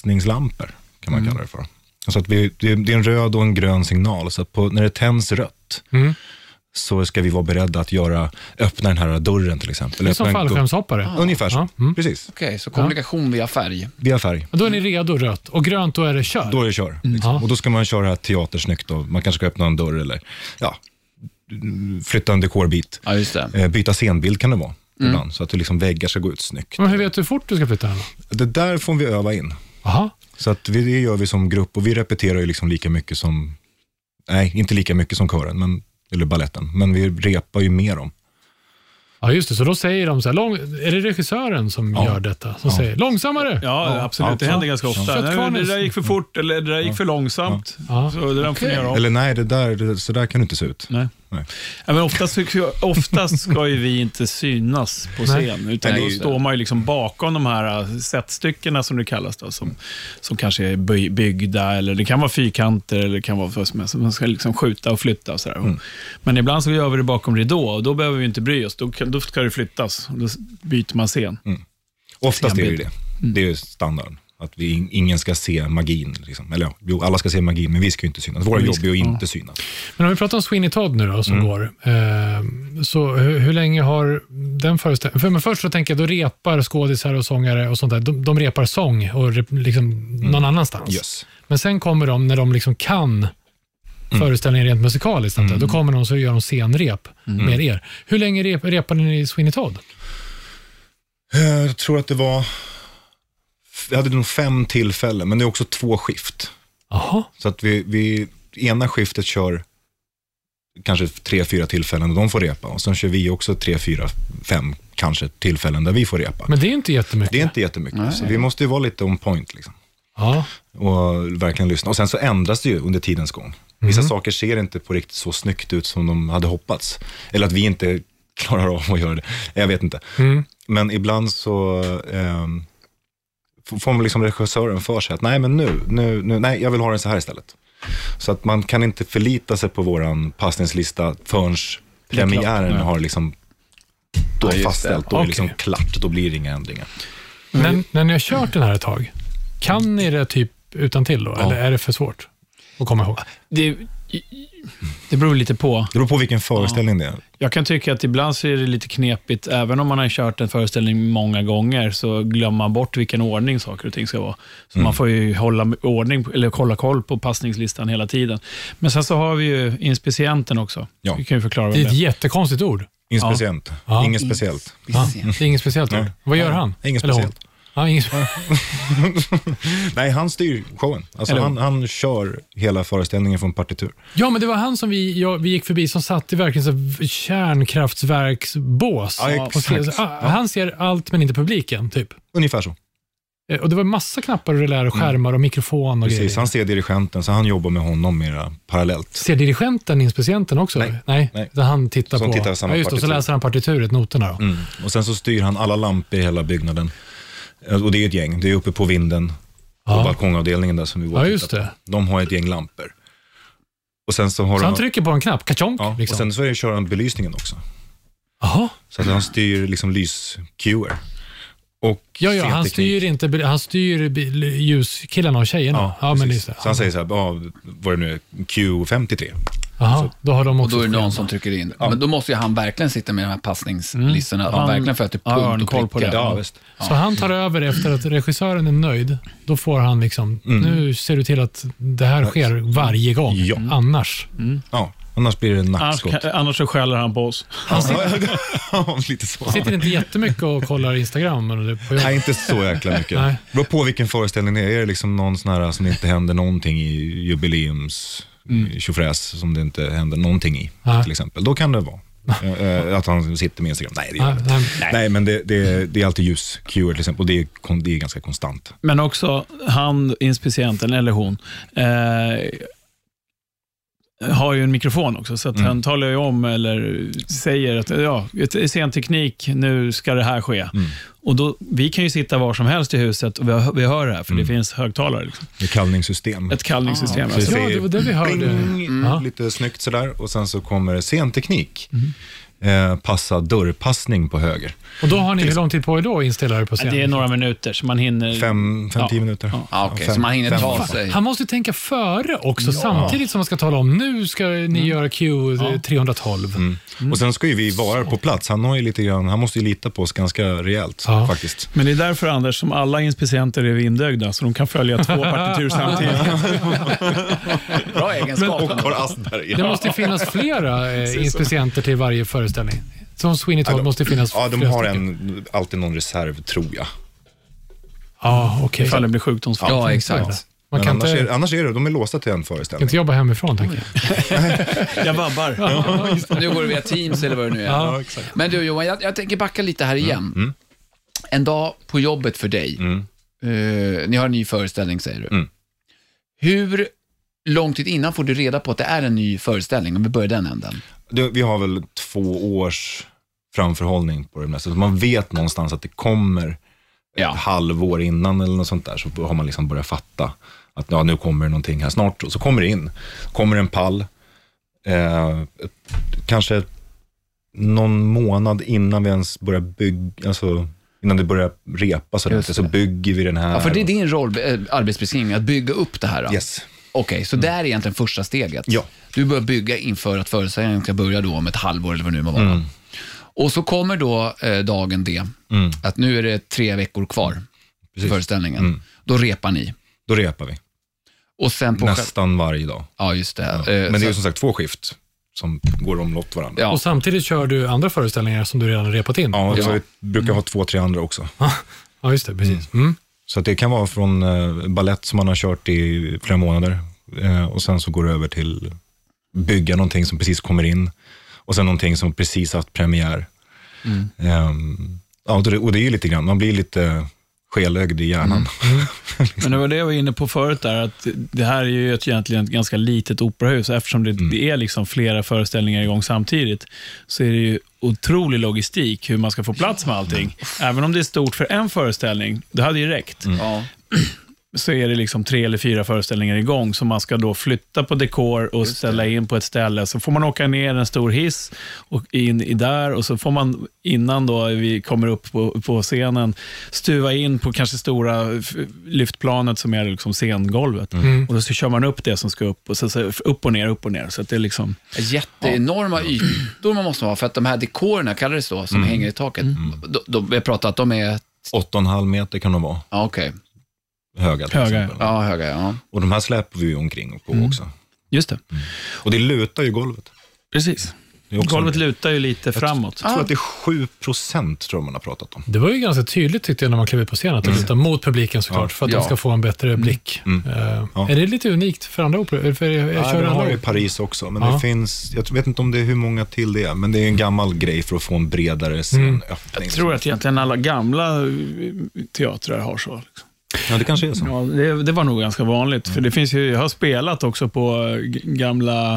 Speaker 5: passningslampor, kan
Speaker 2: Mm.
Speaker 5: man kalla det för. Så att vi, det det är en röd och en grön signal, så att på, när det tänds rött,
Speaker 2: Mm.
Speaker 5: så ska vi vara beredda att göra, öppna den här dörren till exempel.
Speaker 2: Det är som
Speaker 5: Öppna en gu-
Speaker 2: fallskärmshoppare.
Speaker 5: Ungefär så,
Speaker 2: Ja, mm.
Speaker 5: precis.
Speaker 4: Okej, så kommunikation via färg.
Speaker 5: Via färg.
Speaker 2: Men Då är ni redo rött och grönt då är det kör.
Speaker 5: Då är det kör. Liksom.
Speaker 2: Ja.
Speaker 5: Och då ska man köra teatersnyggt och man kanske ska öppna en dörr eller ja, flytta en dekorbit.
Speaker 4: Ja, just det.
Speaker 5: Eh, Byta scenbild kan det vara
Speaker 2: Mm.
Speaker 5: ibland, så att du liksom väggar ska gå ut snyggt.
Speaker 2: Men hur vet du hur fort du ska flytta den? då?
Speaker 5: Det där får vi öva in.
Speaker 2: Jaha,
Speaker 5: Så att vi, det gör vi som grupp och vi repeterar ju liksom lika mycket som, nej, inte lika mycket som kören, men, eller balletten, men vi repar ju mer om.
Speaker 2: ja just det. Så då säger de så här, lång, är det regissören som gör detta? Som säger långsammare?
Speaker 3: Ja, alltså. absolut. Det
Speaker 5: Ja.
Speaker 3: händer ganska ofta.
Speaker 2: Köttkvarnen.
Speaker 3: Nej, Det där gick för fort eller det där gick för långsamt.
Speaker 2: Ja.
Speaker 3: Så det där får ni göra om.
Speaker 5: Eller nej, det där, det, så där kan det inte se ut.
Speaker 3: Nej.
Speaker 5: Nej.
Speaker 3: Ja, men oftast, oftast ska ju vi inte synas på scen, utan
Speaker 4: Nej,
Speaker 3: då
Speaker 4: just det.
Speaker 3: står man ju liksom bakom de här äh, setstyckena som det kallas, då, som, som kanske är by- byggda, eller det kan vara fyrkanter, eller det kan vara vad som helst. Man ska liksom skjuta och flytta och sådär.
Speaker 4: Mm.
Speaker 3: Men ibland så gör vi det bakom ridå, och då behöver vi inte bry oss. Då, kan, då ska det flyttas, och då byter man scen.
Speaker 5: Oftast är det ju
Speaker 3: Scenbild.
Speaker 5: det. Det är ju standarden. Att vi, in- ingen ska se magin. Liksom. Eller ja, jo, alla ska se magin, men vi ska ju inte synas. Våra
Speaker 3: vi
Speaker 5: jobb
Speaker 3: ska-
Speaker 5: är ju inte synas.
Speaker 2: Men om vi pratar om Sweeney Todd nu då, som
Speaker 5: Mm.
Speaker 2: går. Eh, så hur, hur länge har den föreställningen... För, men först så tänker jag, då repar skådisar och sångare och sånt där. De, de repar sång och rep, liksom någon annanstans.
Speaker 5: Mm. Yes.
Speaker 2: Men sen kommer de, när de liksom
Speaker 5: Mm.
Speaker 2: kan föreställningen rent musikaliskt, antar jag. då kommer de så gör de scenrep
Speaker 5: Mm.
Speaker 2: med er. Hur länge rep, repade ni i Sweeney Todd?
Speaker 5: Eh, Jag tror att det var, jag hade nog fem tillfällen, men det är också två skift.
Speaker 2: Jaha.
Speaker 5: Så att vi, vi ena skiftet kör kanske tre, fyra tillfällen och de får repa. Och sen kör vi också tre, fyra, fem kanske tillfällen där vi får repa.
Speaker 2: Men det är inte jättemycket.
Speaker 5: det är inte jättemycket, så vi måste ju vara lite on point liksom.
Speaker 2: Ja.
Speaker 5: och verkligen lyssna. Och sen så ändras det ju under tidens gång. Vissa saker ser inte på riktigt så snyggt ut som de hade hoppats. Eller att vi inte [LAUGHS] klarar av att göra det. Jag vet inte. Men ibland så ehm, f- får man liksom regissören för sig att nej, men nu, nu, nu, nej, jag vill ha den så här istället. Så att man kan inte förlita sig på våran passningslista förrän premiären har liksom då
Speaker 4: Ja, just det.
Speaker 5: fastställt, då är det liksom
Speaker 2: Okej.
Speaker 5: klart, då blir det inga ändringar.
Speaker 2: Men när ni har kört den här ett tag, kan ni det typ utan till då? Eller är det för svårt att komma ihåg?
Speaker 3: det, Det beror lite på.
Speaker 5: Det beror på vilken föreställning det är.
Speaker 3: Jag kan tycka att ibland så är det lite knepigt, även om man har kört en föreställning många gånger, så glömmer man bort vilken ordning saker och ting ska vara. Så man får ju hålla ordning, eller kolla koll på passningslistan hela tiden. Men sen så har vi ju inspicienten också.
Speaker 5: Ja.
Speaker 3: Vi kan ju förklara
Speaker 2: Det
Speaker 3: vem
Speaker 2: är ett
Speaker 3: det
Speaker 2: jättekonstigt ord.
Speaker 5: Inspicient.
Speaker 2: Ja.
Speaker 5: Inget speciellt.
Speaker 2: Ja, det är inget speciellt ord. Vad gör han?
Speaker 5: Inget
Speaker 2: Eller hon?
Speaker 5: speciellt.
Speaker 2: Ja, inget spe-
Speaker 5: Nej, han styr showen. Alltså,
Speaker 3: Eller-
Speaker 5: han, han kör hela föreställningen från partitur.
Speaker 2: ja, men det var han som vi, ja, vi gick förbi som satt i verkligen så här kärnkraftverksbås.
Speaker 5: Ja,
Speaker 2: Och skrev så-
Speaker 5: exakt.
Speaker 2: ah, Han ser allt men inte publiken, typ.
Speaker 5: Ungefär så.
Speaker 2: Eh, Och Det var massa knappar och relär och skärmar och mikrofon och
Speaker 5: Mm. Precis.
Speaker 2: grejer.
Speaker 5: Han ser dirigenten, så han jobbar med honom mera parallellt.
Speaker 2: Ser dirigenten inspicienten också? Nej. Nej.
Speaker 5: Nej.
Speaker 2: utan Han tittar
Speaker 5: Som
Speaker 2: på...
Speaker 5: tittar på samma
Speaker 2: ja, just det, och så
Speaker 5: partitur.
Speaker 2: läser han partituret, noterna. Då.
Speaker 5: Mm. Och sen så styr han alla lampor i hela byggnaden. Eh, Och det är ett gäng. Det är uppe på vinden, på
Speaker 2: Ja.
Speaker 5: balkongavdelningen där som vi var och
Speaker 2: Ja, just
Speaker 5: tittade på.
Speaker 2: det.
Speaker 5: De har ett gäng lampor. Och sen så har
Speaker 2: Så
Speaker 5: de-
Speaker 2: han trycker på en knapp, kachonk.
Speaker 5: ja,
Speaker 2: liksom.
Speaker 5: Och sen så är det, kör han belysningen också.
Speaker 2: Jaha.
Speaker 5: Så att han styr liksom lyscuer. Och
Speaker 2: Ja, ja, han
Speaker 5: scenteknik.
Speaker 2: styr, inte, han styr bi- ljuskillarna och tjejerna. Ja, men
Speaker 5: precis.
Speaker 2: just det.
Speaker 5: Så han säger så här, ja, vad det nu är, Q53.
Speaker 2: Aha, då har de
Speaker 4: Och
Speaker 2: också
Speaker 4: då är det
Speaker 2: ett
Speaker 4: någon
Speaker 2: schema.
Speaker 4: som trycker in. Men då måste ju han verkligen sitta med de här passningslistorna. Att han
Speaker 3: Han-
Speaker 4: verkligen följer till
Speaker 3: Mm. Ja, han
Speaker 4: punkt
Speaker 3: har
Speaker 4: och
Speaker 3: koll på
Speaker 4: pricka.
Speaker 3: det.
Speaker 5: Ja, visst.
Speaker 2: Så han tar över efter att regissören är nöjd. Då får han liksom, nu ser du till att det här sker varje gång.
Speaker 5: Mm. Ja.
Speaker 2: Annars.
Speaker 5: Ja, annars blir det
Speaker 3: Annars,
Speaker 5: nackskott.
Speaker 3: kan- annars så skäller han på oss.
Speaker 5: Ja, [LAUGHS] lite så.
Speaker 2: Sitter inte jättemycket och kollar Instagram eller på jobbet.
Speaker 5: Nej, inte så jäkla mycket.
Speaker 2: Nej.
Speaker 5: Det beror på vilken föreställning det är. Är det liksom någon sån här som det inte händer någonting i jubileums tjofräs som det inte händer någonting i,
Speaker 2: Nej.
Speaker 5: till exempel. Då kan det vara eh, eh, att han sitter med Instagram. Nej, det gör
Speaker 2: Nej,
Speaker 5: han inte.
Speaker 2: nej.
Speaker 5: Nej, men det, det, det är alltid ljuscuer till exempel och det är, kon- det är ganska konstant.
Speaker 3: Men också han, inspicienten, eller hon, eh, har ju en mikrofon också, så att han talar ju om, eller säger att ja, ett- scenteknik, nu ska det här ske. Och då, vi kan ju sitta var som helst i huset och vi hör, vi hör det här, för det finns högtalare. Liksom.
Speaker 5: Det är kallningssystem.
Speaker 3: Ett kallningssystem.
Speaker 5: Så
Speaker 3: alltså.
Speaker 2: Ja, det var det vi hörde. Mm.
Speaker 5: Pling,
Speaker 2: Ja.
Speaker 5: mm, Lite snyggt sådär och sen så kommer det scenteknik.
Speaker 2: Mm.
Speaker 5: Eh, passa dörrpassning på höger.
Speaker 2: Och då har ni hur lång tid på er då att inställa er på scenen?
Speaker 3: Det är några minuter, så man hinner.
Speaker 5: Fem, fem
Speaker 3: Ja.
Speaker 5: tio minuter.
Speaker 3: Ja.
Speaker 4: Ja, ah, okej,
Speaker 5: Fem-
Speaker 4: så man hinner
Speaker 5: fem
Speaker 4: ta
Speaker 5: minuter.
Speaker 4: sig.
Speaker 2: Han måste ju tänka före också, samtidigt som man ska tala om nu ska ni
Speaker 5: Mm.
Speaker 2: göra Q312. Mm.
Speaker 5: Och sen ska ju vi vara på plats. Han, har ju lite grann, han måste ju lita på oss ganska rejält
Speaker 2: Ja.
Speaker 5: faktiskt.
Speaker 3: Men det är därför, Anders, som alla inspicienter är vindögda, så de kan följa två partitur samtidigt.
Speaker 4: Bra egenskap.
Speaker 5: Och har Asperger.
Speaker 2: Det måste ju finnas flera
Speaker 5: [LAUGHS]
Speaker 2: eh, inspicienter till varje föreställning. Som Sweeney Todd måste det finnas
Speaker 5: Ja, de
Speaker 2: flera
Speaker 5: har
Speaker 2: stycken.
Speaker 5: en, alltid någon reserv tror jag.
Speaker 2: Ja, okej.
Speaker 3: Ifall det blir sjukdomsfall.
Speaker 4: Ja, exakt.
Speaker 2: Man
Speaker 5: Men
Speaker 2: kan
Speaker 5: annars,
Speaker 2: inte,
Speaker 5: är,
Speaker 2: kan
Speaker 5: annars är det, de är låsta till en föreställning.
Speaker 2: inte jobba hemifrån, tänker jag.
Speaker 3: Jag vabbar.
Speaker 4: Nu går det via Teams eller vad det nu är.
Speaker 2: Ja,
Speaker 4: Men du Johan, jag, jag tänker backa lite här igen. En dag på jobbet för dig. Eh, ni har en ny föreställning säger du.
Speaker 5: Mm.
Speaker 4: Hur lång tid innan får du reda på att det är en ny föreställning? Om vi börjar den änden.
Speaker 5: Det, vi har väl två års framförhållning på det mesta. Så man vet någonstans att det kommer
Speaker 4: Ja.
Speaker 5: ett halvår innan eller något sånt där, så har man liksom börjat fatta att ja, nu kommer det någonting här snart. Och så kommer det in. Kommer en pall, eh, ett- kanske någon månad innan vi ens börjar bygga, alltså innan det börjar repa så,
Speaker 4: Just
Speaker 5: så
Speaker 4: det.
Speaker 5: bygger vi den här.
Speaker 4: Ja, för det är din roll, eh, arbetsbeskrivning, att bygga upp det här. då?
Speaker 5: Yes.
Speaker 4: Okej, så det här är egentligen första steget.
Speaker 5: Mm. Ja.
Speaker 4: Du börjar bygga inför att föreställningen ska börja då om ett halvår eller vad det nu må vara.
Speaker 5: Mm.
Speaker 4: Och så kommer då eh, dagen D, att nu är det tre veckor kvar till
Speaker 5: Mm. Precis. Mm.
Speaker 4: föreställningen. Då repar ni.
Speaker 5: Då repar vi,
Speaker 4: Och sen på... själ-
Speaker 5: nästan varje dag.
Speaker 4: Ja, just det. Eh,
Speaker 5: Men det är ju
Speaker 4: så-
Speaker 5: som sagt två skift som går omlott varandra.
Speaker 4: Ja.
Speaker 2: Och samtidigt kör du andra föreställningar som du redan repat in.
Speaker 5: Ja,
Speaker 4: Ja.
Speaker 5: så vi brukar ha två, tre andra också.
Speaker 2: Ja, just det. Precis. Mm.
Speaker 5: Så att det kan vara från eh, ballett som man har kört i flera månader eh, och sen så går det över till bygga någonting som precis kommer in och sen någonting som precis haft premiär.
Speaker 3: Mm.
Speaker 5: Ehm, ja, och, det, och det är ju lite grann, man blir lite skelögd i hjärnan.
Speaker 3: Mm.
Speaker 5: [LAUGHS]
Speaker 3: Men det var det jag var inne på förut, där, att det här är ju ett, egentligen ett ganska litet operahus. Eftersom det, det är liksom flera föreställningar igång samtidigt, så är det ju otrolig logistik hur man ska få plats med allting. Även om det är stort för en föreställning, det hade ju räckt.
Speaker 4: Ja.
Speaker 3: så är det liksom tre eller fyra föreställningar igång, så man ska då flytta på dekor och ställa in på ett ställe. Så får man åka ner en stor hiss och in i där och så får man innan då vi kommer upp på, på scenen stuva in på kanske stora f- lyftplanet som är liksom scengolvet. Och då så kör man upp det som ska upp och så, så upp och ner, upp och ner. Så att det är liksom,
Speaker 4: Jätteenorma ytor man måste ha, för att de här dekorerna, kallades det så, som
Speaker 5: Mm.
Speaker 4: hänger i taket, de, de, vi har pratat att de är,
Speaker 5: Åtta och en halv meter kan de vara
Speaker 4: ja okej,
Speaker 5: höga. till
Speaker 3: Höga, Mm.
Speaker 5: exempel.
Speaker 4: ja höga, ja.
Speaker 5: Och de här släpper vi ju omkring och på också.
Speaker 3: just det.
Speaker 5: Och det lutar ju golvet.
Speaker 3: Precis.
Speaker 5: Det är också
Speaker 3: Golvet
Speaker 5: en-
Speaker 3: lutar ju lite framåt.
Speaker 5: Jag tror att det är 7 procent tror jag man har pratat om.
Speaker 2: Det var ju ganska tydligt tyckte jag när man klev ut på scenen, att
Speaker 5: Mm.
Speaker 2: det lutar mot publiken såklart, för att
Speaker 4: Ja.
Speaker 2: de ska få en bättre blick. Eh,
Speaker 5: Ja.
Speaker 2: Är det lite unikt för andra operor? Eller För jag, jag
Speaker 5: Jag
Speaker 2: kör
Speaker 5: Nej, de har
Speaker 2: alla
Speaker 5: ju i
Speaker 2: operor.
Speaker 5: Paris också, men
Speaker 2: Ja.
Speaker 5: det finns, jag vet inte om det är hur många till det är, men det är en gammal grej för att få en bredare liksom. scenöppning.
Speaker 3: Jag tror att egentligen alla gamla eh, teatrar har så. Liksom.
Speaker 5: Ja, det kanske är så.
Speaker 3: Ja, det, det var nog ganska vanligt. För det finns ju, jag har spelat också på eh, g- gamla,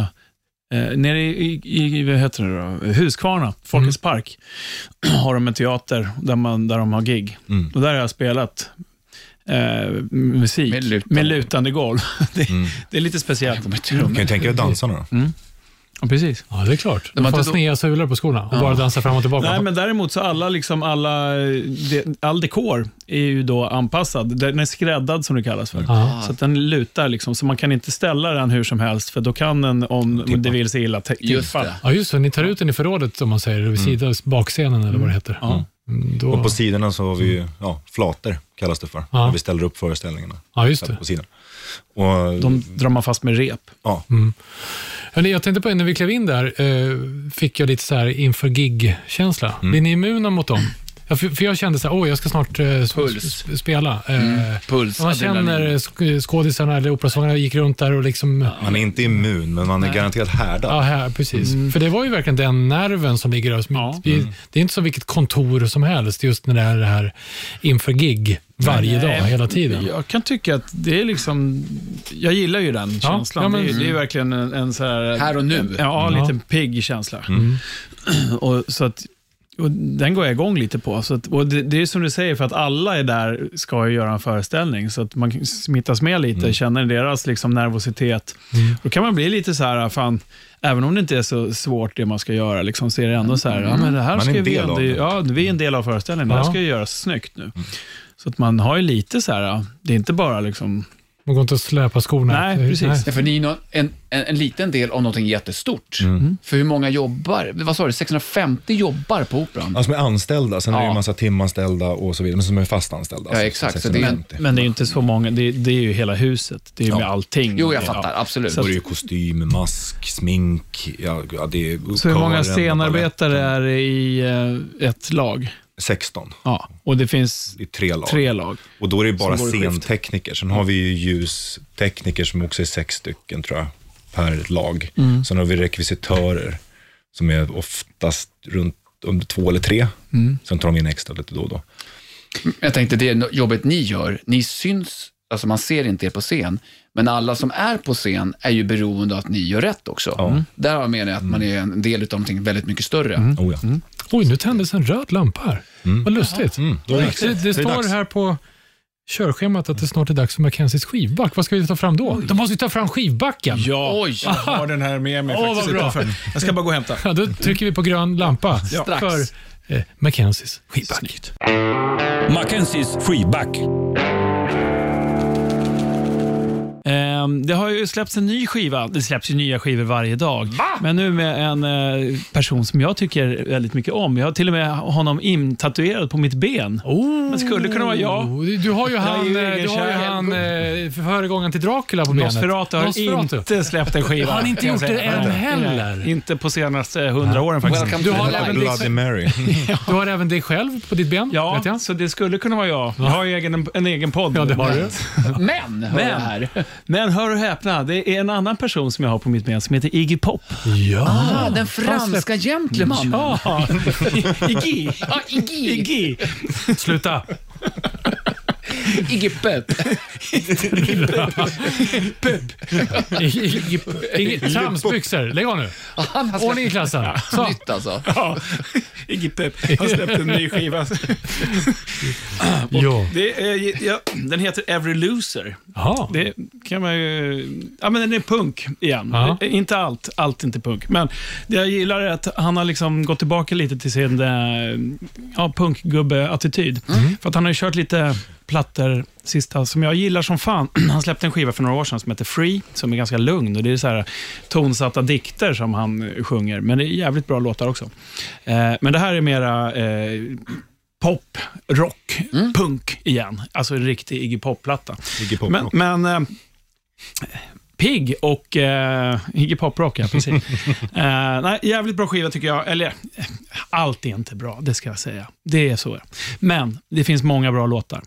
Speaker 3: eh, nere i, i, i vad heter det då? Huskvarna, Folkets park, [CLEARS THROAT] har de en teater där, man, där de har gig. Och där har jag spelat eh, musik
Speaker 4: Med
Speaker 3: med
Speaker 4: lutande.
Speaker 3: lutande, golv. [LAUGHS] Det, det är lite speciellt.
Speaker 5: Kan ju tänka dig dansarna då.
Speaker 3: Ja, precis.
Speaker 2: Ja, det är klart.
Speaker 4: var
Speaker 2: De får
Speaker 4: inte då-
Speaker 2: sneda sulor på skorna och bara dansa fram och tillbaka.
Speaker 3: Nej, men däremot så alla, liksom alla, eh, de, all dekor är ju då anpassad. Den är skräddad som det kallas för.
Speaker 2: Ja.
Speaker 3: Så att den lutar liksom, så man kan inte ställa den hur som helst, för då kan den, om det vill sig illa, te-
Speaker 4: Just
Speaker 3: tippa.
Speaker 4: det.
Speaker 2: Ja, just det. Ni tar ut den i förrådet, om man säger, vid sidan, bakscenen eller vad det heter.
Speaker 3: Ja.
Speaker 2: Mm, Då...
Speaker 5: Och på sidorna så har vi ju, ja, flator kallas det för,
Speaker 2: Ja.
Speaker 5: där vi ställer upp föreställningarna.
Speaker 2: Ja, just det.
Speaker 5: På sidan. Och,
Speaker 3: De drar man fast med rep.
Speaker 5: ja,
Speaker 2: Hörrni, jag tänkte på en, när vi klev in där, eh, fick jag lite så här inför gig-känsla. Blir ni immuna mot dem? Ja, för, för jag kände så här, åh, jag ska snart eh, s-
Speaker 4: Puls.
Speaker 2: s- spela. Eh,
Speaker 4: Puls,
Speaker 2: Man
Speaker 4: adrenalin.
Speaker 2: känner eh, sk- skådisarna eller operasångarna gick runt där och liksom...
Speaker 5: man är inte immun, men man är garanterat härdad.
Speaker 2: Ja, här, precis. För det var ju verkligen den nerven som ligger där.
Speaker 3: Mm. Ja. Mm.
Speaker 2: Det, det är inte som vilket kontor som helst, just när det är det här inför gig varje dag, hela tiden.
Speaker 3: Jag kan tycka att det är liksom, jag gillar ju den känslan.
Speaker 2: ja, men-
Speaker 3: det, är, det är verkligen en, en så här...
Speaker 4: Här och nu.
Speaker 3: Mm.
Speaker 4: Mm.
Speaker 3: Ja,
Speaker 2: Ja.
Speaker 3: en liten pigg känsla. [CLEARS THROAT] Och, så att, och den går jag igång lite på. Så att, och det, det är som du säger, för att alla är där ska ju göra en föreställning, så att man smittas med lite,
Speaker 5: Mm.
Speaker 3: känner deras liksom nervositet. Då kan man bli lite så här, fan, även om det inte är så svårt det man ska göra, liksom, så är det ändå så här, ja, men det här
Speaker 5: Man är
Speaker 3: ska
Speaker 5: en
Speaker 3: vi,
Speaker 5: del
Speaker 3: ändå,
Speaker 5: av det. Mm.
Speaker 3: ja, vi är en del av föreställningen, det här
Speaker 2: Ja.
Speaker 3: ska ju göras snyggt nu. Så att man har ju lite så här, det är inte bara liksom,
Speaker 2: Man går inte att släpa skorna.
Speaker 3: Nej,
Speaker 2: Det-
Speaker 3: precis.
Speaker 4: Ja, för ni är nå- en, en, en liten del av någonting jättestort.
Speaker 3: Mm.
Speaker 4: För hur många jobbar, vad sa du, 650 jobbar på Operan?
Speaker 5: Alltså som är anställda, sen är det
Speaker 4: Ja.
Speaker 5: ju massa timanställda och så vidare, men som är fast anställda.
Speaker 4: Ja,
Speaker 5: alltså,
Speaker 4: exakt. Så det är-
Speaker 5: 650.
Speaker 3: men det är ju inte så många, det, det är ju hela huset, det är ju med allting.
Speaker 4: Jo, jag
Speaker 3: Ja.
Speaker 4: fattar, absolut.
Speaker 3: Så
Speaker 5: Då är det ju kostym, mask, smink, ja, ja, det är
Speaker 3: Så hur många
Speaker 5: kören,
Speaker 3: scenarbetare
Speaker 5: baletten.
Speaker 3: är det i eh, ett lag?
Speaker 5: 16.
Speaker 3: Ja, och det finns
Speaker 5: Det är tre lag.
Speaker 3: tre lag.
Speaker 5: Och då är det bara
Speaker 3: Som går i skift.
Speaker 5: scentekniker. Sen har vi ju ljustekniker som också är sex stycken tror jag, per lag. Sen har vi rekvisitörer som är oftast runt om två eller tre. Sen tar de in extra lite då och då.
Speaker 4: Jag tänkte det no- jobbet ni gör, ni syns, alltså man ser inte er på scen, men alla som är på scen är ju beroende av att ni gör rätt också.
Speaker 3: Mm.
Speaker 4: Där har jag menar jag att man är en del av någonting väldigt mycket större.
Speaker 5: Oh, ja.
Speaker 2: Oj, nu tändes en röd lampa här. Vad lustigt.
Speaker 5: Då är Mm. det, dags.
Speaker 2: Det, det,
Speaker 5: är
Speaker 2: står
Speaker 5: dags.
Speaker 2: här på körschemat att det snart är dags för Mackenzies skivback. Vad ska vi ta fram då? De måste ju ta fram skivbacken.
Speaker 3: Ja,
Speaker 4: Oj,
Speaker 3: jag har den här med mig
Speaker 2: Åh,
Speaker 3: faktiskt
Speaker 2: vad bra.
Speaker 3: utanför. Jag ska bara gå och hämta.
Speaker 2: Ja, då trycker vi på grön lampa
Speaker 4: Strax.
Speaker 2: för eh, Mackenzies skivback.
Speaker 1: Mackenzies freeback.
Speaker 3: Ehm, det har ju släppts en ny skiva. Det släpps ju nya skivor varje dag. Men nu med en eh, person som jag tycker väldigt mycket om. Jag har till och med honom intatuerad på mitt ben. Det skulle kunna vara jag.
Speaker 2: Oh, Du har ju han,
Speaker 3: ju
Speaker 2: eh,
Speaker 3: ingen
Speaker 2: du har ju
Speaker 3: kär.
Speaker 2: han eh, föregångaren till Dracula på benet.
Speaker 3: Nosferatu har
Speaker 2: Nosferatu.
Speaker 3: inte släppt en skiva.
Speaker 2: Har han inte
Speaker 3: kan jag
Speaker 2: gjort det
Speaker 3: säga.
Speaker 2: än
Speaker 3: Nej,
Speaker 2: heller?
Speaker 3: nej, Inte på senaste hundra åren faktiskt.
Speaker 4: Welcome
Speaker 2: Du
Speaker 4: to
Speaker 2: har
Speaker 4: the
Speaker 2: även
Speaker 4: life.
Speaker 5: Bloody [LAUGHS] Mary.
Speaker 2: Du har även dig själv på ditt ben.
Speaker 3: Ja,
Speaker 2: vet jag.
Speaker 3: så det skulle kunna vara jag. Jag har ju egen, en egen podd.
Speaker 2: Ja, det har du.
Speaker 4: Men, hör
Speaker 3: Men.
Speaker 4: jag här.
Speaker 3: Men hör och häpna, det är en annan person som jag har på mitt ben som heter Iggy Pop.
Speaker 2: Ja.
Speaker 4: Ah, den franska gentlemannen.
Speaker 3: Ja, [LAUGHS] Iggy.
Speaker 4: Ah, Iggy,
Speaker 3: [LAUGHS] Iggy.
Speaker 2: Sluta.
Speaker 4: Iggy Pep. [LAUGHS]
Speaker 2: Iggy-
Speaker 3: [LAUGHS]
Speaker 2: Iggy- Tramsbyxor. Lägg av nu.
Speaker 4: Han har
Speaker 2: Ordning i
Speaker 4: släppt
Speaker 2: klassen. Så.
Speaker 4: nytt alltså.
Speaker 3: Ja. [LAUGHS] Iggy Pep. Han släppte en ny skiva.
Speaker 2: Ja.
Speaker 3: Det är, ja, den heter Every Loser.
Speaker 2: Jaha.
Speaker 3: Det kan man ju... Ja, men den är punk igen.
Speaker 2: Ja.
Speaker 3: Eh, Inte allt, allt är inte punk. Men det jag gillar är att han har liksom gått tillbaka lite till sin eh, ja, punkgubbe-attityd. För att han har ju kört lite plattor sista som jag gillar som fan. [CLEARS THROAT] Han släppte en skiva för några år sedan som heter Free, som är ganska lugn. Och Det är så här tonsatta dikter som han eh, sjunger, men det är jävligt bra låtar också. Eh, men det här är mera eh, pop, rock, punk igen. Alltså en riktig Iggy Pop-platta.
Speaker 5: Iggy Pop
Speaker 3: Men,
Speaker 5: Rock.
Speaker 3: men eh, Pigg och eh, Iggy Pop-rock, ja, precis. eh, nej, jävligt bra skiva tycker jag. Eller, eh, allt är inte bra, det ska jag säga. Det är så. Men det finns många bra låtar.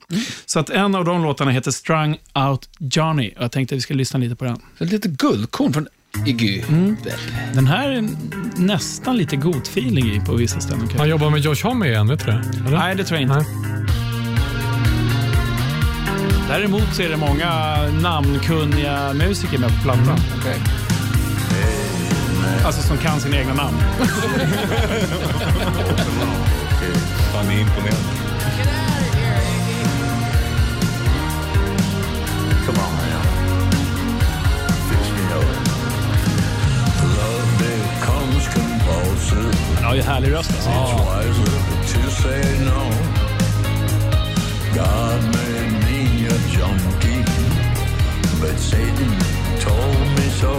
Speaker 3: Så att en av de låtarna heter Strung Out Johnny. Och jag tänkte att vi ska lyssna lite på den.
Speaker 4: Så lite guldkorn från Iggy.
Speaker 3: Mm. Den här är nästan lite god feeling i på vissa ställen. kanske.
Speaker 2: Han jobbar med Josh Homme igen, vet du det? Eller?
Speaker 3: Nej, det tror jag inte.
Speaker 2: Nej.
Speaker 3: Däremot så är det många namnkunniga musiker med på plattan.
Speaker 4: Okej.
Speaker 3: Alltså som kan sina egna namn.
Speaker 5: Fan, ni är imponerande.
Speaker 8: Come on now. Fix me up. Love becomes compulsive.
Speaker 3: Han har ju härlig röst alltså.
Speaker 8: It's wiser to say no. God made me a junkie, but Satan told me so.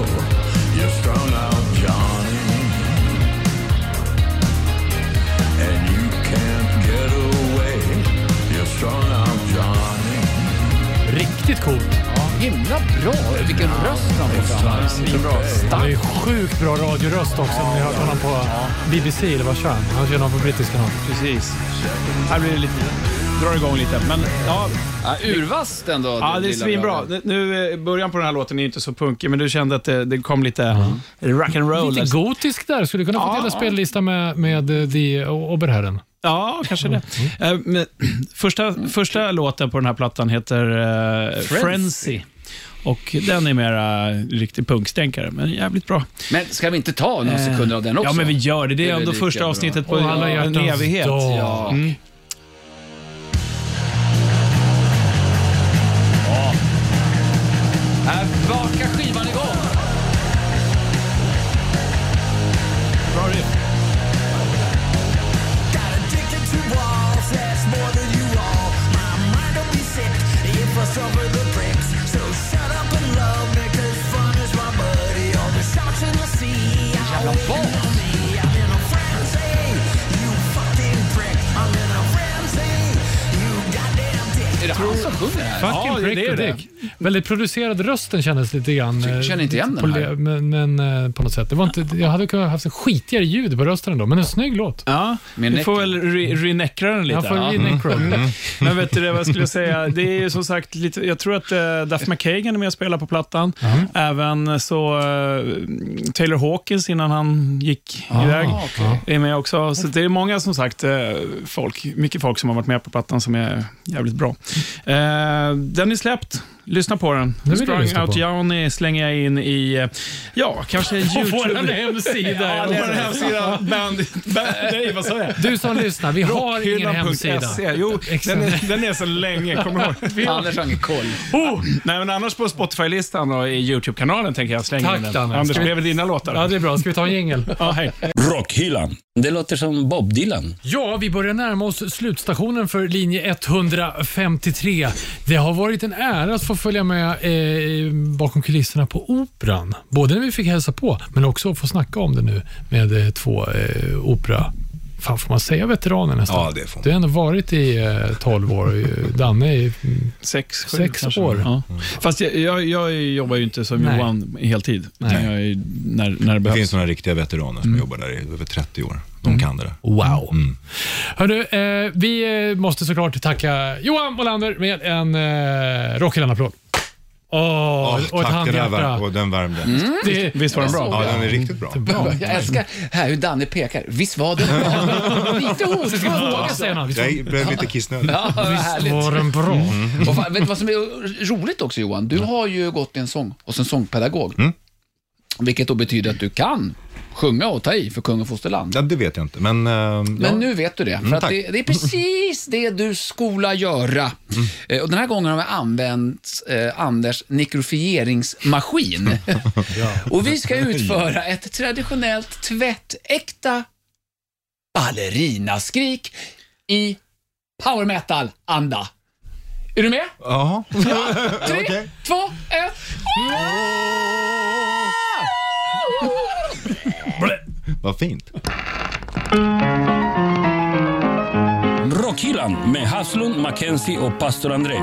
Speaker 8: You're strung out, Johnny. And you can't get away. You're strung out, Johnny.
Speaker 2: Riktigt coolt.
Speaker 4: Himla bra! Vilken röst han får fram. Så bra.
Speaker 2: Det
Speaker 4: Stark.
Speaker 2: är sjukt bra radioröst också. Ni har hört honom på BBC, eller vad kör han? Han kör någon på brittisk kanal.
Speaker 3: Precis. Här blir det lite... Drar igång lite. Men ja,
Speaker 4: Ja, urvass ändå.
Speaker 3: ja
Speaker 4: den
Speaker 3: det är
Speaker 4: lilla
Speaker 3: svinbra.
Speaker 4: bröden.
Speaker 3: Det- Nu, eh, början på den här låten är ju inte så punkig, men du kände att det, det kom lite eh, rock'n'roll.
Speaker 2: Lite gotisk där. Skulle kunna få dela spellista med, med eh, The Oberherren.
Speaker 3: Ja, kanske det. Eh, Men, [CLEARS THROAT] första, första låten på den här plattan heter eh,
Speaker 4: Frenzy.
Speaker 3: Frenzy. Och den är mera riktig punkstänkare, men jävligt bra.
Speaker 4: Men ska vi inte ta några
Speaker 3: Eh,
Speaker 4: sekunder av den också?
Speaker 3: Ja, men vi gör det. Det är,
Speaker 4: Det är väl
Speaker 3: ändå
Speaker 4: lika
Speaker 3: första
Speaker 4: bra.
Speaker 3: avsnittet på
Speaker 2: Och alla
Speaker 3: en
Speaker 2: hjärtans
Speaker 3: evighet.
Speaker 2: dag.
Speaker 4: Ja.
Speaker 3: Mm.
Speaker 4: Här bakar skivan igång.
Speaker 3: Bra riff.
Speaker 6: Got addicted to walls, that's more than you all. My mind will be sick if I suffer the bricks. So shut up and love me, cause fun is my buddy. All the sharks in the sea, I'm on me. I'm in a frenzy, you fucking prick. I'm in a frenzy, you goddamn dick.
Speaker 4: Är det han som sjunger här?
Speaker 2: Fucking
Speaker 3: Ja, det
Speaker 2: prick
Speaker 3: är
Speaker 2: och
Speaker 3: det.
Speaker 2: dick. Väldigt producerad rösten kändes lite grann. eh,
Speaker 4: känner inte igen den
Speaker 2: på-
Speaker 4: här.
Speaker 2: Men, men eh, på något sätt. Det var inte, jag hade kunnat haft en skitigare ljud på rösten ändå, men en snygg låt.
Speaker 3: Ja, Mm.
Speaker 4: Med
Speaker 3: vi får
Speaker 4: neck.
Speaker 3: väl re- renäckra den lite.
Speaker 2: Jag får in en crow.
Speaker 3: [LAUGHS] Men vet du det, vad skulle jag säga? Det är ju som sagt lite, jag tror att uh, Duff McKagan är med och spelar på plattan. Även så eh, Taylor Hawkins innan han gick iväg
Speaker 4: okej.
Speaker 3: är med också. Så det är många som sagt, eh, folk, mycket folk som har varit med på plattan som är jävligt bra. Eh, den är släppt. Lyssna på den.
Speaker 2: vill jag lyssna
Speaker 3: Sprung Out
Speaker 2: på.
Speaker 3: Johnny slänger jag in i, eh, ja, [LAUGHS] kanske YouTube.
Speaker 2: vår hemsida.
Speaker 3: Ja, vår [LAUGHS] hemsida. Bandit. Ba- nej, vad sa jag?
Speaker 2: Du som lyssnar, vi har ingen hemsida.
Speaker 3: Rockhyllan.se. E. Jo, den är, den är så länge, kommer du ihåg? [LAUGHS] Vi har-
Speaker 4: Anders har ingen koll.
Speaker 3: Oh! Nej, men annars på Spotify-listan och i YouTube-kanalen tänker jag slänga
Speaker 2: Tack,
Speaker 3: in den.
Speaker 2: Danne.
Speaker 3: Anders,
Speaker 2: Ska vi-
Speaker 3: blev det dina låtar?
Speaker 2: Ja, det är bra. Ska vi ta en jingel?
Speaker 3: Ja, hej.
Speaker 1: Rockhyllan. Det låter som Bob Dylan.
Speaker 2: Ja, vi börjar närma oss slutstationen för linje 153. Det har varit en ära att få följa med eh, bakom kulisserna på Operan. Både när vi fick hälsa på, men också att få snacka om det nu med eh, två eh, opera... Fan, får man säga veteraner nästan?
Speaker 5: Ja, det får man.
Speaker 2: Du har ändå varit i eh, 12 år. eh, Danne i mm,
Speaker 3: Sex, sju
Speaker 2: Sex
Speaker 3: kanske.
Speaker 2: år.
Speaker 3: Ja. Fast jag, jag, jag jobbar ju inte som
Speaker 2: Nej.
Speaker 3: Johan heltid. utan
Speaker 2: Nej.
Speaker 3: Jag är ju när, när det
Speaker 5: Det
Speaker 3: behövs.
Speaker 5: finns några riktiga veteraner som jobbar där i över 30 år. De kan det där.
Speaker 2: Wow. Mm. Hörru, eh, vi eh, måste såklart tacka Johan Molander med en eh, Rockhyllan-applåd. Åh, och ett
Speaker 5: tack, det där
Speaker 2: handhjärta.
Speaker 5: var, och den värmde.
Speaker 2: Det-
Speaker 3: Visst var den bra?
Speaker 5: Ja, den Mm. är riktigt bra.
Speaker 4: Jag älskar här hur Danne pekar. Visst var
Speaker 3: [LAUGHS]
Speaker 4: det bra? Lite hotfull.
Speaker 2: Våga säga något.
Speaker 5: Jag blev lite kissnödig.
Speaker 4: Ja, vad
Speaker 2: Visst
Speaker 4: härligt.
Speaker 2: var den bra?
Speaker 4: Och fan, vet du vad som är roligt också
Speaker 5: Mm.
Speaker 4: Johan? Du har ju gått i en sång och en sångpedagog. Vilket då betyder att du kan sjunga och ta i för kung och fosterland.
Speaker 5: Ja, det vet jag inte, men... eh,
Speaker 4: Men
Speaker 5: ja.
Speaker 4: nu vet du det, för
Speaker 5: Mm,
Speaker 4: att
Speaker 5: tack.
Speaker 4: det, det är precis det du skola göra.
Speaker 5: Mm.
Speaker 4: Eh, Och den här gången har vi använt eh, Anders
Speaker 5: [LAUGHS]
Speaker 4: nikrofieringsmaskin. Och vi ska utföra ett traditionellt tvättäkta ballerinaskrik i power metal-anda. Är du med?
Speaker 5: Jaha.
Speaker 4: Tre,
Speaker 5: Okej.
Speaker 4: två, ett.
Speaker 5: Vad fint.
Speaker 1: Rockhyllan med Haslund, Mackenzie och pastor André.